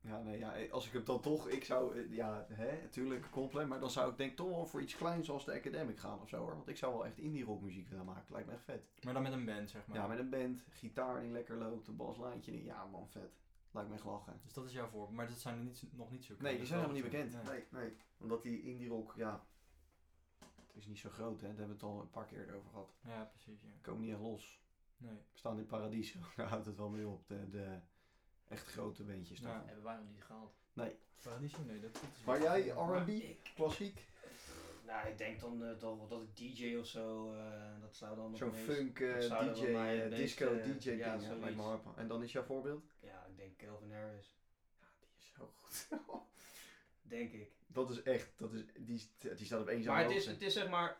B: ja, nee, ja, als ik hem dan toch... Ik zou... eh, ja, hè, natuurlijk, compleet. Maar dan zou ik denk ik toch wel voor iets kleins als de Academic gaan of zo, hoor. Want ik zou wel echt indie rockmuziek willen maken. Lijkt me echt vet.
A: Maar dan met een band, zeg maar.
B: Ja, met een band. Gitaar die lekker loopt. Een baslijntje. die- Ja, man, vet. Lijkt me echt lachen.
A: Dus dat is jouw voorbeeld. Maar dat zijn niet, nog niet zo
B: Nee, die zijn helemaal niet bekend.
A: Nee.
B: Nee, nee. Omdat die indie rock, ja. Het is niet zo groot, hè? Daar hebben we het al een paar keer over gehad.
A: Ja, precies. Ja.
B: Die komen niet echt los.
A: Nee.
B: We staan in Paradiso. Daar houdt het wel mee op. De, de echt grote bandjes
A: Ja.
B: daarvan.
C: Hebben wij nog niet gehaald.
A: Paradiso, nee, dat, dat is
B: Maar jij,
A: Maar-
B: R&B, klassiek?
C: Nou, ik denk dan eh, toch wel dat ik DJ of zo, eh, dat zou dan nog
B: Zo'n
C: meest-
B: funk, eh,
C: ik zou dan
B: DJ,
C: wel mij het
B: eh,
C: meest,
B: disco,
C: eh,
B: DJ
C: ja,
B: ding. Ja,
C: zoiets.
B: lijkt me hard, man. En dan is jouw voorbeeld?
C: Ja, ik denk Calvin Harris.
B: Die is zo goed.
C: Denk ik.
B: dat is echt, dat is, die, die staat op één zijn
C: Maar het is,
B: hoogte.
C: het is zeg maar,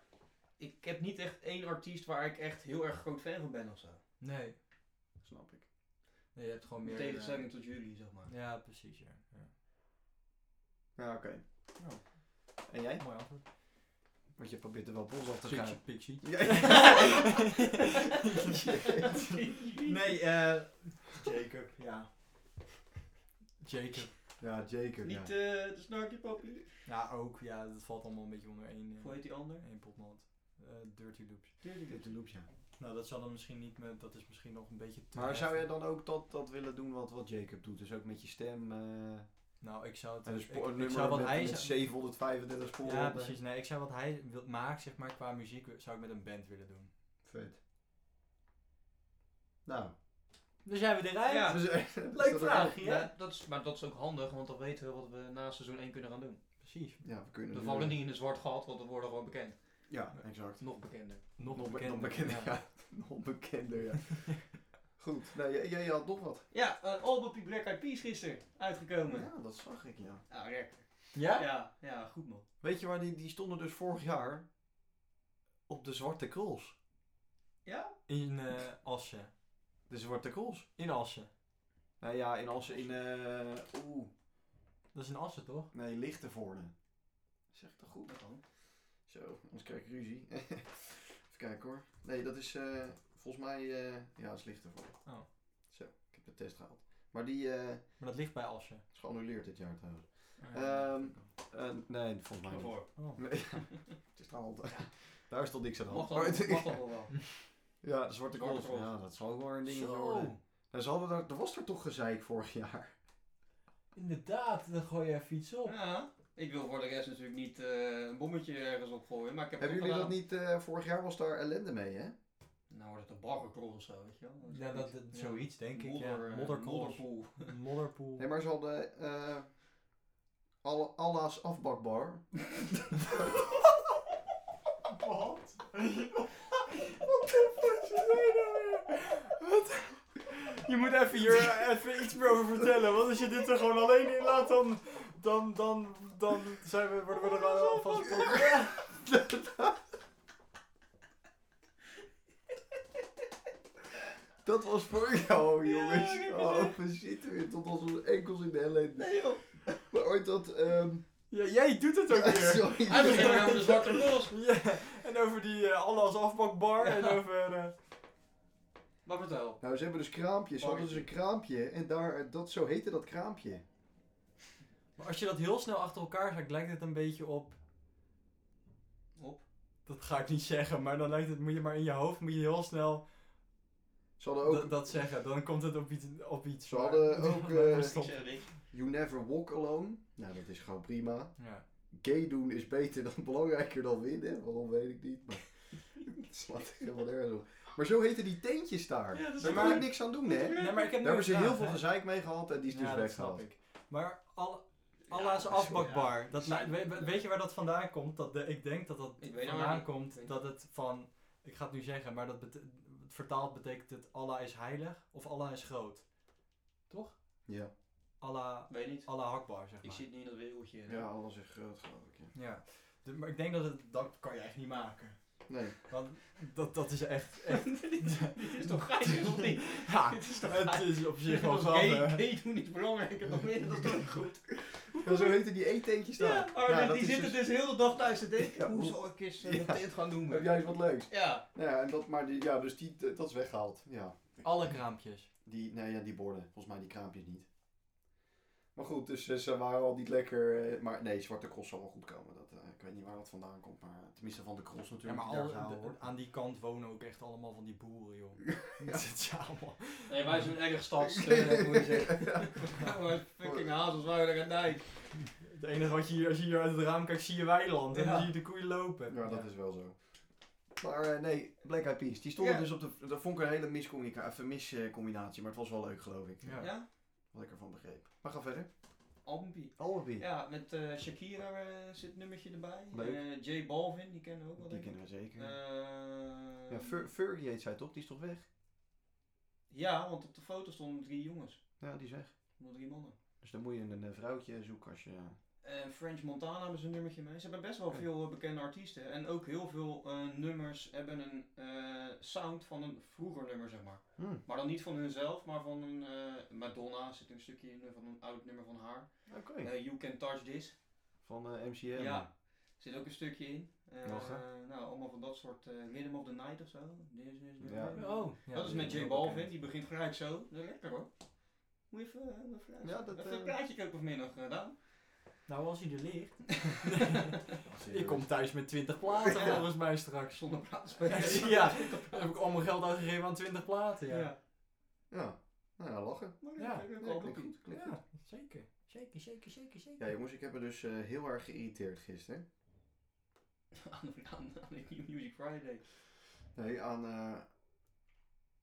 C: ik heb niet echt één artiest waar ik echt heel erg groot fan van ben of zo.
A: Nee.
B: Snap ik.
A: nee, je hebt gewoon
C: In
A: meer...
C: tegenstelling tot jullie, zeg maar.
A: eh, Ja, precies, ja. ja.
B: Ja, oké.
A: Nou,
C: Oh.
B: En jij?
A: mooi antwoord.
B: Want je probeert er wel bos af te
A: Pixie,
B: schuiven.
A: pixie.
B: Ja.
A: Nee, eh... Jacob, ja. Jacob.
B: Ja, Jacob.
C: Niet
B: Ja.
C: eh, de snarky poppy.
A: Ja, ook. Ja, dat valt allemaal een beetje onder één,
C: Hoe
A: eh
C: heet die ander?
A: één potmand. Eh, Dirty Loops.
B: Dit de loop, ja.
A: Nou, dat zal dan misschien niet... Met, dat is misschien nog een beetje te...
B: Maar zou
A: heftig.
B: jij dan ook dat, dat willen doen wat, wat Jacob doet? Dus ook met je stem eh
A: Nou, ik zou het...
B: en dus een
A: ik- ik,
B: spoornummer
A: zou wat
B: met,
A: hij...
B: met
A: zou-
B: 735 sporen.
A: Ja,
B: erbij.
A: precies. Nee, ik zou wat hij wil, maakt, zeg maar, qua muziek, zou ik met een band willen doen.
B: Vet. Nou.
A: Dus zijn we eruit.
C: Ja.
B: dus, eh, dat
A: Leuk
B: is
A: vraag.
B: ook-
A: Ja.
C: Ja, dat is, maar dat is ook handig, want dan weten we wat we na seizoen 1 kunnen gaan doen.
A: Precies.
B: Ja, we kunnen
C: We
B: nu- eh,
C: vallen niet in een zwart gat, want we worden gewoon bekend.
B: Ja, exact.
C: Nog bekender.
A: Nog,
B: Nog be-
A: bekender.
B: nog bekender, ja. Nog bekender, ja. Goed, nou, jij, jij had nog wat.
C: Ja, eh, een album op Black Eyed Peas gisteren uitgekomen.
B: Ja, dat zag ik, ja.
C: Ja, lekker.
A: Ja?
C: Ja, ja, goed man.
B: Weet je waar die, die stonden dus vorig jaar? Op de Zwarte Cross.
C: Ja?
A: In eh Assen.
B: De Zwarte Cross.
A: In Assen.
B: Nou ja, in als in. eh Oeh,
A: Dat is in Assen, toch?
B: nee, Lichtenvoorde. Zeg ik dat goed?
C: Dat dan.
B: Zo, anders krijg ik ruzie. Even kijken hoor. Nee, dat is eh, volgens mij. eh, ja, dat is Lichtenvoorde.
A: Oh.
B: Zo, ik heb de test gehaald. Maar die eh,
A: Maar dat ligt bij Assen.
B: is geannuleerd dit jaar trouwens.
A: Eh,
B: Ehm, eh, nee, volgens mij. niet.
C: Daarvoor.
A: oh.
B: Nee, het is trouwens. Daar is toch niks aan de
C: Mag
B: hand.
C: dat, mag dat wel wel.
B: Ja, de Zwarte
C: Zwarte
B: Cross.
C: Cross.
B: Ja, dat zal ook wel een ding
A: Zo.
B: worden. En ze hadden daar, er was er toch gezeik vorig jaar.
A: Inderdaad, dan gooi je fiets op.
C: Ja, ik wil voor de rest natuurlijk niet eh, een bommetje ergens op gooien, maar ik heb het
B: Hebben
C: toch
B: jullie dat
C: gedaan.
B: niet, eh, vorig jaar was daar ellende mee, hè?
C: Nou wordt het een baggerkrol of zo, weet je wel.
A: Ja, dat, dat-
C: Ja.
A: zoiets denk ik.
C: Modder,
A: ja.
C: eh,
A: Modderkools.
C: modderpoel.
A: Modderpoel.
B: Nee, maar ze hadden eh alle, Allah's afbakbar.
A: Wat? Wat de fuck is jij nou weer? Wat? Je moet even hier eh, even iets meer over vertellen. Want als je dit er gewoon alleen in laat, dan, dan, dan, dan zijn we, worden we er al alvast op.
B: Dat was voor jou,
C: Ja,
B: jongens.
C: ik heb het
B: oh, we zitten weer tot onze enkels in de ellende. Nee, joh. Maar ooit dat... ehm
A: Ja, jij doet het ook weer.
B: sorry.
C: Hij begint weer over de zwarte roos.
A: Ja, en over die eh alles afbakbar en over... eh,
C: Maar vertel.
B: Nou, ze hebben dus kraampjes. Ze hadden dus een kraampje. En daar, dat, zo heette dat kraampje.
A: Maar als je dat heel snel achter elkaar zegt, lijkt het een beetje op...
C: Op.
A: Dat ga ik niet zeggen, maar dan lijkt het, moet je maar in je hoofd, moet je heel snel...
B: Ze hadden ook...
A: dat- dat zeggen. Dan komt het op iets. Op iets
B: Ze
A: waar-
B: hadden ook,
A: waar-
B: eh,
A: stop.
B: You never walk alone. Nou, dat is gewoon prima.
A: Ja.
B: Gay doen is beter dan belangrijker dan winnen. Waarom weet ik niet. Maar het slaat echt helemaal nergens op. Maar zo heten die tentjes daar.
C: Ja, dat is
B: Daar
A: maar-
B: kon ik niks aan doen, hè?
A: Nee,
B: Daar
A: maar ik heb nu
B: hebben
A: een
B: ze heel
A: vraag,
B: veel
A: hè.
B: gezeik mee gehad en die is dus
A: ja, dat snap
B: weggehaald.
A: ik. Maar al, Allah's afbakbar. Dat, li- we- we- weet je waar dat vandaan komt? Dat de, ik denk dat dat
C: Ik weet nou
A: vandaan
C: niet.
A: komt dat het van. Ik ga het nu zeggen, maar dat bete- vertaald betekent het Allah is heilig of Allah is groot. Toch?
B: Ja.
A: Allah,
C: Weet niet.
A: Allah hakbar, zeg
C: Ik
A: maar.
C: zit niet in dat wereldje. eh.
B: Ja, alles is groot, geloof ik. Ja.
A: Ja. De- maar ik denk dat het. Dat kan je echt niet maken.
B: Nee.
A: Want dat, dat is echt. echt
C: Dit is toch grijs of niet?
A: ja,
C: Dit is toch
A: het is op zich wel
C: gay,
A: grappig.
C: gay doen is belangrijker dan winnen, dat is toch goed?
B: Ja, zo heten die eetentjes daar.
C: Ja, Arne,
B: dat
C: die
B: is
C: zitten
B: dus-
C: dus... heel de hele dag thuis te denken,
B: Ja,
C: hoe
B: hoe-
C: zal ik eens eh,
B: Ja.
C: dit gaan doen?
B: Heb jij eens wat leuks?
C: Ja,
B: Nou ja, en dat, maar die, ja, dus die, dat is weggehaald. Ja.
A: Alle kraampjes.
B: Die, nee, ja, die borden. Volgens mij die kraampjes niet. Maar goed, dus eh, ze waren al niet lekker. eh, maar nee, Zwarte Cross zal wel goed komen. Dat, eh, ik weet niet waar dat vandaan komt. Maar eh, tenminste van de Cross
A: Ja,
B: natuurlijk.
A: maar
B: die daar
A: al,
B: gehaald
A: de-
B: wordt.
A: aan die kant wonen ook echt allemaal van die boeren, joh. Dat zit ja, man.
C: nee, wij zijn erg stads, eh, moet je zeggen. Ja, maar Oh, fucking hazelswouder en dijk.
A: Het enige wat je hier, als je hier uit het raam kijkt, zie je weiland. En
C: Ja.
A: dan zie je de koeien lopen.
B: Ja, dat is wel zo. Maar eh, nee, Black Eyed Peas. Die stonden
C: Ja.
B: dus op de... Dat vond ik een hele miscommunicatie, miscombinatie. Maar het was wel leuk, geloof ik.
A: Ja.
C: Ja,
B: Wat ik ervan begreep. Maar ga verder.
C: Albie.
B: Albabie.
C: Ja, met eh, Shakira eh, zit een nummertje erbij.
B: Leuk.
C: Eh, J Balvin, die kennen we ook wel,
B: Die
C: denk
B: kennen we
C: ik.
B: zeker.
C: Eh,
B: ja, Fer- Fergie heet zij toch? Die is toch weg?
C: ja, want op de foto stonden drie jongens.
B: Ja, die is weg.
C: Nog drie mannen.
B: Dus dan moet je een, eh, vrouwtje zoeken als je... eh,
C: En Eh, French Montana hebben ze een nummertje mee. Ze hebben best wel
B: Oké.
C: veel eh, bekende artiesten. En ook heel veel eh, nummers hebben een eh, sound van een vroeger nummer, zeg maar.
B: Hmm,
C: Maar dan niet van hunzelf, maar van een eh, Madonna. Zit een stukje in eh, van een oud nummer van haar.
B: Oké.
C: Eh, you Can Touch This.
B: Van eh, MCM.
C: Ja. Zit ook een stukje in. Eh,
B: Lachen.
C: eh, nou, allemaal van dat soort eh, Rhythm of the Night of zo. This is the
B: Ja.
C: rhythm.
A: Oh, ja,
C: dat is met
B: die
C: J
B: is
C: Balvin,
B: bekend.
C: die begint gelijk zo. Dat is lekker hoor. Moet je even, eh, even,
B: Ja, dat,
C: even
B: eh,
C: een plaatje kopen vanmiddag eh, gedaan.
A: Nou, als hij er ligt.
B: Serieus.
A: Ik kom thuis met 20 platen
C: Ja.
A: volgens mij straks.
C: Zonder plaatsspelen.
A: Ja, dan heb ik al mijn geld uitgegeven aan 20 platen. Ja,
B: Ja. Nou ja, lachen.
C: Maar
A: Ja,
C: ja, leuk,
B: Ja,
C: leuk,
B: klinkt
C: leuk.
B: goed. Klinkt goed.
A: Ja, zeker. Zeker, zeker, zeker, zeker.
B: Ja, jongens, ik heb me dus eh, heel erg geïrriteerd gisteren.
C: Aan de- aan de- aan de New Music Friday.
B: Nee, aan... eh,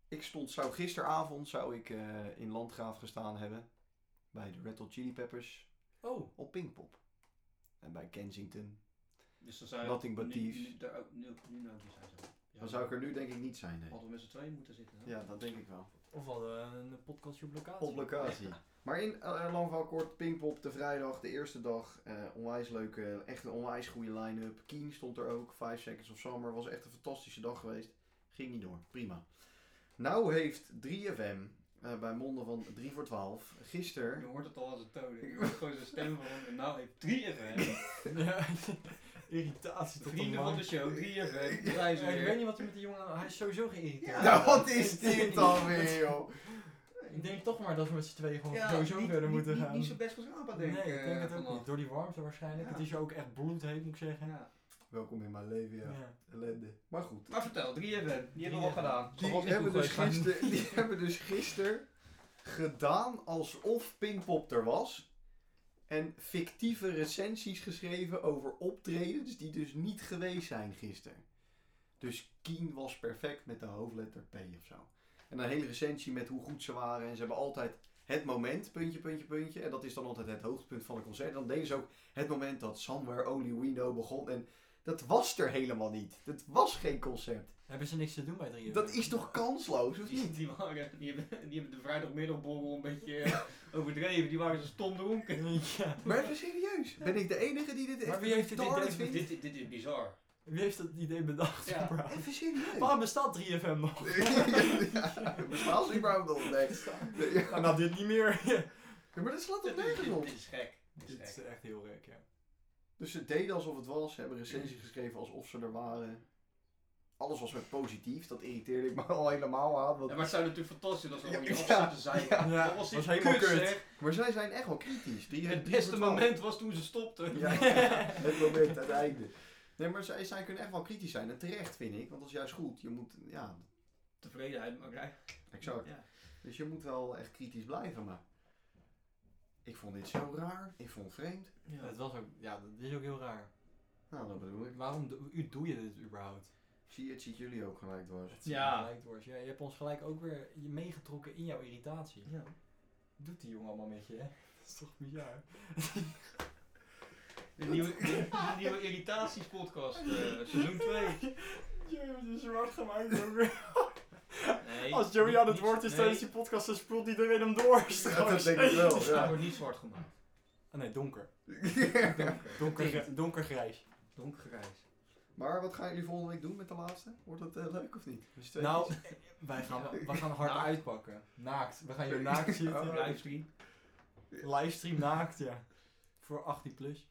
B: ik stond, zou gisteravond zou ik eh, in Landgraaf gestaan hebben. Bij de Red Hot Chili Peppers
A: Oh,
B: op Pinkpop. En bij Kensington.
C: Dus dan zou je
B: Nothing but
C: nu-
B: thieves.
C: nu- daar ook- nu- nu nou die zijn, zeg maar.
B: Dan zou ik er nu denk ik niet zijn. Nee.
C: Hadden we met z'n tweeën moeten zitten. hè?
B: Ja, dat denk ik wel.
A: Of wel een podcastje op locatie.
B: Op locatie. Maar in eh, lang verhaal kort, Pinkpop de vrijdag, de eerste dag. eh, onwijs leuk, eh, echt een onwijs goede line-up. Keen stond er ook, 5 Seconds of Summer. Was echt een fantastische dag geweest. Ging niet door, prima. Nou heeft 3FM, eh, bij monden van 3 voor 12,
C: Je
B: gisteren...
C: hoort het al als een toon. hè? Je hoort gewoon zijn stem van. En nou heeft 3FM.
A: Ja, irritatie tot de
C: Vrienden van
A: man.
C: de show, 3FM. Daar zijn ze
A: Ja, ik weet
C: weer.
A: niet wat hij met die jongen aan... Hij is sowieso geïrriteerd.
B: Nou, wat is dit dan weer, joh?
A: Ik denk toch maar dat we met z'n tweeën gewoon
C: Ja,
A: sowieso
C: niet-
A: verder
C: niet-
A: moeten
C: niet-
A: gaan.
C: Niet zo best als Apa, denk
A: nee, ik
C: eh,
A: denk het ook
C: vanaf.
A: niet. Door die warmte waarschijnlijk.
C: Ja.
A: Het is ook echt bloedheet, moet ik zeggen.
C: Ja.
B: Welkom in mijn leven, ja.
A: Ja.
B: Ellende. Maar goed.
C: Maar vertel, 3FM. Die hebben we al
A: 3FM.
C: gedaan.
B: Die
A: was niet
B: hebben,
A: goed
B: dus
A: geweest, maar-
B: gister, die hebben dus gisteren gedaan alsof Pinkpop er was. En fictieve recensies geschreven over optredens die dus niet geweest zijn gisteren. Dus Keen was perfect met de hoofdletter P of zo. En een hele recensie met hoe goed ze waren. En ze hebben altijd het moment, puntje, puntje, puntje. En dat is dan altijd het hoogtepunt van een concert. En dan deden ze ook het moment dat Somewhere Only We Know begon. En dat was er helemaal niet. Dat was geen concert.
A: Hebben ze niks te doen bij 3
B: Dat is toch kansloos, of
C: Die,
B: niet?
C: die, waren, die, hebben, die hebben de vrijdagmiddagborrel een beetje eh, overdreven. Die waren zo stom dronken.
A: Oh, Ja.
B: Maar even serieus, ben ik de enige die dit
A: Maar
B: echt
A: wie heeft dit
B: retarded
A: idee-
B: vindt?
C: Dit, dit, dit is bizar.
A: Wie heeft dat idee bedacht?
C: Ja.
A: überhaupt?
B: Even serieus.
A: Waarom bestaat 3FM nog?
B: ja, bestaat ze überhaupt nog? Nee. Nee, ja.
A: Nou, nou, dit niet meer.
B: Ja, Maar dat slaat
C: Dit,
B: op
C: dit,
B: nergens
C: dit,
B: op.
C: dit is gek. Dit
A: Dit eh,
C: is
A: is
C: gek.
A: echt heel gek, ja.
B: Dus ze deden alsof het was, ze hebben recensies geschreven alsof ze er waren. Alles was weer positief, dat irriteerde ik me al helemaal aan.
C: Ja,
B: want-
C: maar het zou natuurlijk fantastisch als we
B: Ja,
C: om je af
B: ja,
C: zaten zijn.
B: ja.
A: Ja,
C: Dat was,
A: was helemaal
C: helemaal kut,
A: kut.
C: zeg.
B: Maar zij zijn echt wel kritisch. Die,
C: Het
B: die
C: beste
B: vertrouwen-
C: moment was toen ze stopten.
B: Ja, het moment, het einde. Nee, maar zij, zij kunnen echt wel kritisch zijn. En terecht, vind ik. Want dat is juist goed. Je moet, ja,
C: Tevredenheid, maar krijg-
B: exact.
C: Ja.
B: Dus je moet wel echt kritisch blijven, maar... Ik vond dit zo raar. Ik vond het vreemd.
A: Ja, Het was ook, ja, dat is ook heel raar.
B: Nou, dat bedoel ik.
A: Waarom do- u, doe je dit überhaupt?
B: Zie, het ziet jullie ook gelijk dwars.
A: Het is
C: Ja.
A: gelijk dwars. Ja, je hebt ons gelijk ook weer je- meegetrokken in jouw irritatie.
C: Ja.
A: Doet die jongen allemaal met je, hè? Dat is toch bizar?
C: De nieuwe, de, de nieuwe irritatiespodcast, eh, seizoen 2.
A: Joey wordt er zwart gemaakt ook
C: Nee,
A: Als Joey aan het
C: niet-
A: woord is
C: nee,
A: tijdens die podcast, dan spoelt iedereen hem door.
B: Ja, dat denk ik wel,
C: Hij
B: ja.
C: wordt niet zwart gemaakt.
A: Ah, nee, donker.
C: Donker.
A: Donker, donkergrijs.
C: Donkergrijs.
B: Maar wat gaan jullie volgende week doen met de laatste? Wordt dat eh, leuk of niet? Dus twee
A: Nou,
B: keer.
A: wij gaan, we gaan hard
C: Naakt.
A: uitpakken. Naakt. We gaan je naakt
B: Oh.
A: zitten.
C: Livestream.
A: Livestream naakt, ja. Voor 18 plus.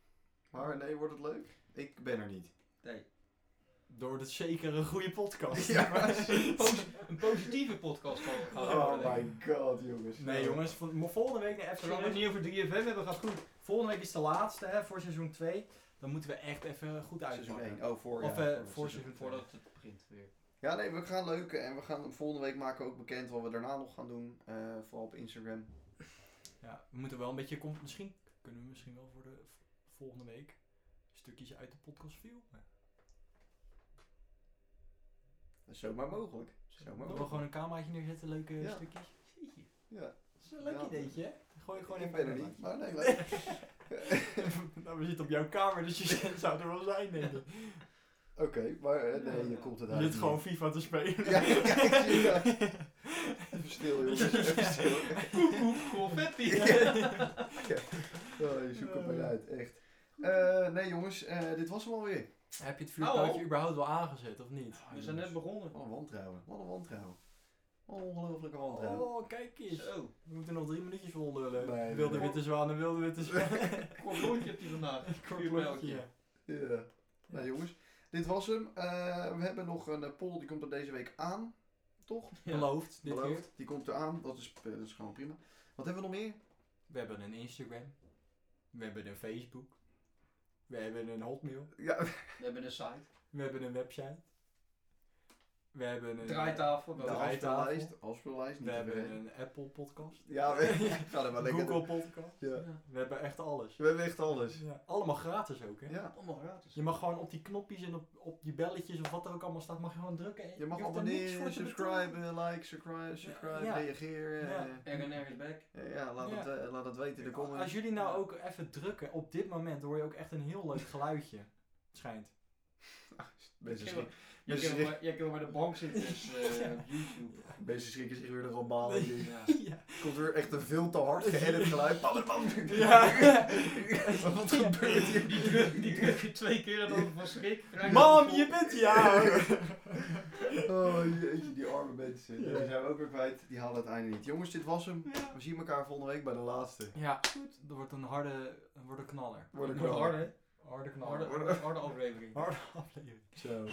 B: Maar nee, wordt het leuk? Ik ben er niet.
A: Door het zeker een goede podcast.
B: Ja.
C: Posi- een positieve podcast van
B: Oh my god, jongens.
A: Nee jongens, van- mo- volgende week naar FC
C: Zolang we het
A: Rust.
C: niet over 3FM hebben, gaat goed.
A: Volgende week is de laatste hè, voor seizoen 2. Dan moeten we echt even goed
B: Seizoen
A: uitpakken.
B: 1. Oh, voor,
A: Of
B: ja,
A: eh,
B: seizoen.
A: voor seizoen 2.
C: Voordat het begint weer.
B: Ja, nee, we gaan leuk. En we gaan volgende week maken ook bekend wat we daarna nog gaan doen. eh, vooral op Instagram.
A: Ja, we moeten wel een beetje... com- Misschien kunnen we misschien wel voor de v- volgende week stukjes uit de podcast filmen.
B: Dat is zomaar mogelijk.
A: We
B: Zomaar
A: willen
B: mogelijk.
A: gewoon een cameraatje neerzetten, leuke
B: Ja.
A: stukjes.
B: Ja,
A: Dat is een leuk
B: Ja.
A: ideetje, hè? Gooi gewoon
B: ik
A: even
B: ben er
A: een
B: niet. Maar nee, leuk.
A: like. nou, we zitten op jouw kamer, dus je zou er wel zijn, denk ik.
B: Oké, maar eh, nee, je komt het
A: Je
B: uit.
A: zit gewoon FIFA te spelen.
B: Ja, ja, ik zie dat. Even stil, jongens. Even stil.
C: Koekoek, confetti.
B: Oh, je zoekt het maar uit, echt. Eh, nee, jongens, eh, dit was hem alweer.
A: Heb je het
C: Oh,
A: vuurpijpje
C: oh.
A: überhaupt wel aangezet, of niet?
C: We zijn net begonnen.
A: Oh,
B: Wat een wantrouwen. Wat een wantrouwen. Wat een ongelofelijke wantrouwen.
A: Oh, kijk eens.
C: Zo,
A: We moeten nog drie minuutjes vol lullen.
B: Nee, nee,
A: wilde
B: nee.
A: witte zwaan en wilde witte zwaan.
C: kort lontje heb je vandaag.
A: Kort blokje.
B: Ja. Nou, jongens, dit was hem. Eh, we hebben nog een eh, poll, die komt er deze week aan. Toch?
A: Beloofd, dit keer.
B: Beloofd. Die komt er aan. Dat is, eh, dat is gewoon prima. Wat hebben we nog meer?
A: We hebben een Instagram. We hebben een Facebook. We hebben een Hotmail.
B: Ja,
C: We hebben een site.
A: We hebben een website. We hebben een...
C: Draaitafel.
B: de
A: Ja.
C: wel.
A: draaitafel.
B: afspeellijst. Afspeellijst, niet
A: We
B: te
A: hebben
B: vergeten.
A: een Apple podcast.
B: Ja, we gaan er maar lekker
A: Google podcast.
B: door. Ja.
A: We hebben echt alles.
B: We hebben echt alles.
A: Ja, allemaal gratis ook, hè?
B: Ja.
C: Allemaal gratis.
A: Je mag gewoon op die knopjes en op, op die belletjes of wat er ook allemaal staat, mag je gewoon drukken. en
B: Je mag
A: hoeft er niks voor
B: abonneren,
A: te betalen.
B: subscriben, like, subscribe, subscribe,
A: Ja.
B: reageren.
A: Ja.
B: eh,
C: R&R is back.
B: Ja, ja, laat,
A: Ja.
B: Het, eh, laat het weten in de comments.
A: Als jullie nou ook even drukken, op dit moment hoor je ook echt een heel leuk geluidje. Het Schijnt.
B: Mensen,
C: Misschien wel-
B: schrik-
C: Jij
B: Dus
C: kan
B: je-
C: wel bij- jij kan wel bij de bank zitten dus, eh, op YouTube.
B: Mensen schrikken zich weer ervan balen.
A: Nee.
B: Er
C: Ja.
A: Ja.
B: Komt weer echt een veel te hard geëdit geluid. Bam, bam.
A: Ja.
B: Wat gebeurt hier?
C: Die druk, die druk je twee keer en dan van schrik. raak je
A: Mam,
C: vol.
A: je bent ja. hoor.
B: Oh jeetje, die arme mensen.
A: Ja.
B: Die zijn we ook weer kwijt. Die halen het einde niet. Jongens, dit was hem.
A: Ja.
B: We zien elkaar volgende week bij de laatste.
A: Ja, goed. Dat wordt een harde, dat wordt een knaller.
B: Wordt een
C: Harde,
A: Harde
C: harde,
A: knaller.
C: harde aflevering.
A: harde aflevering.
B: Zo.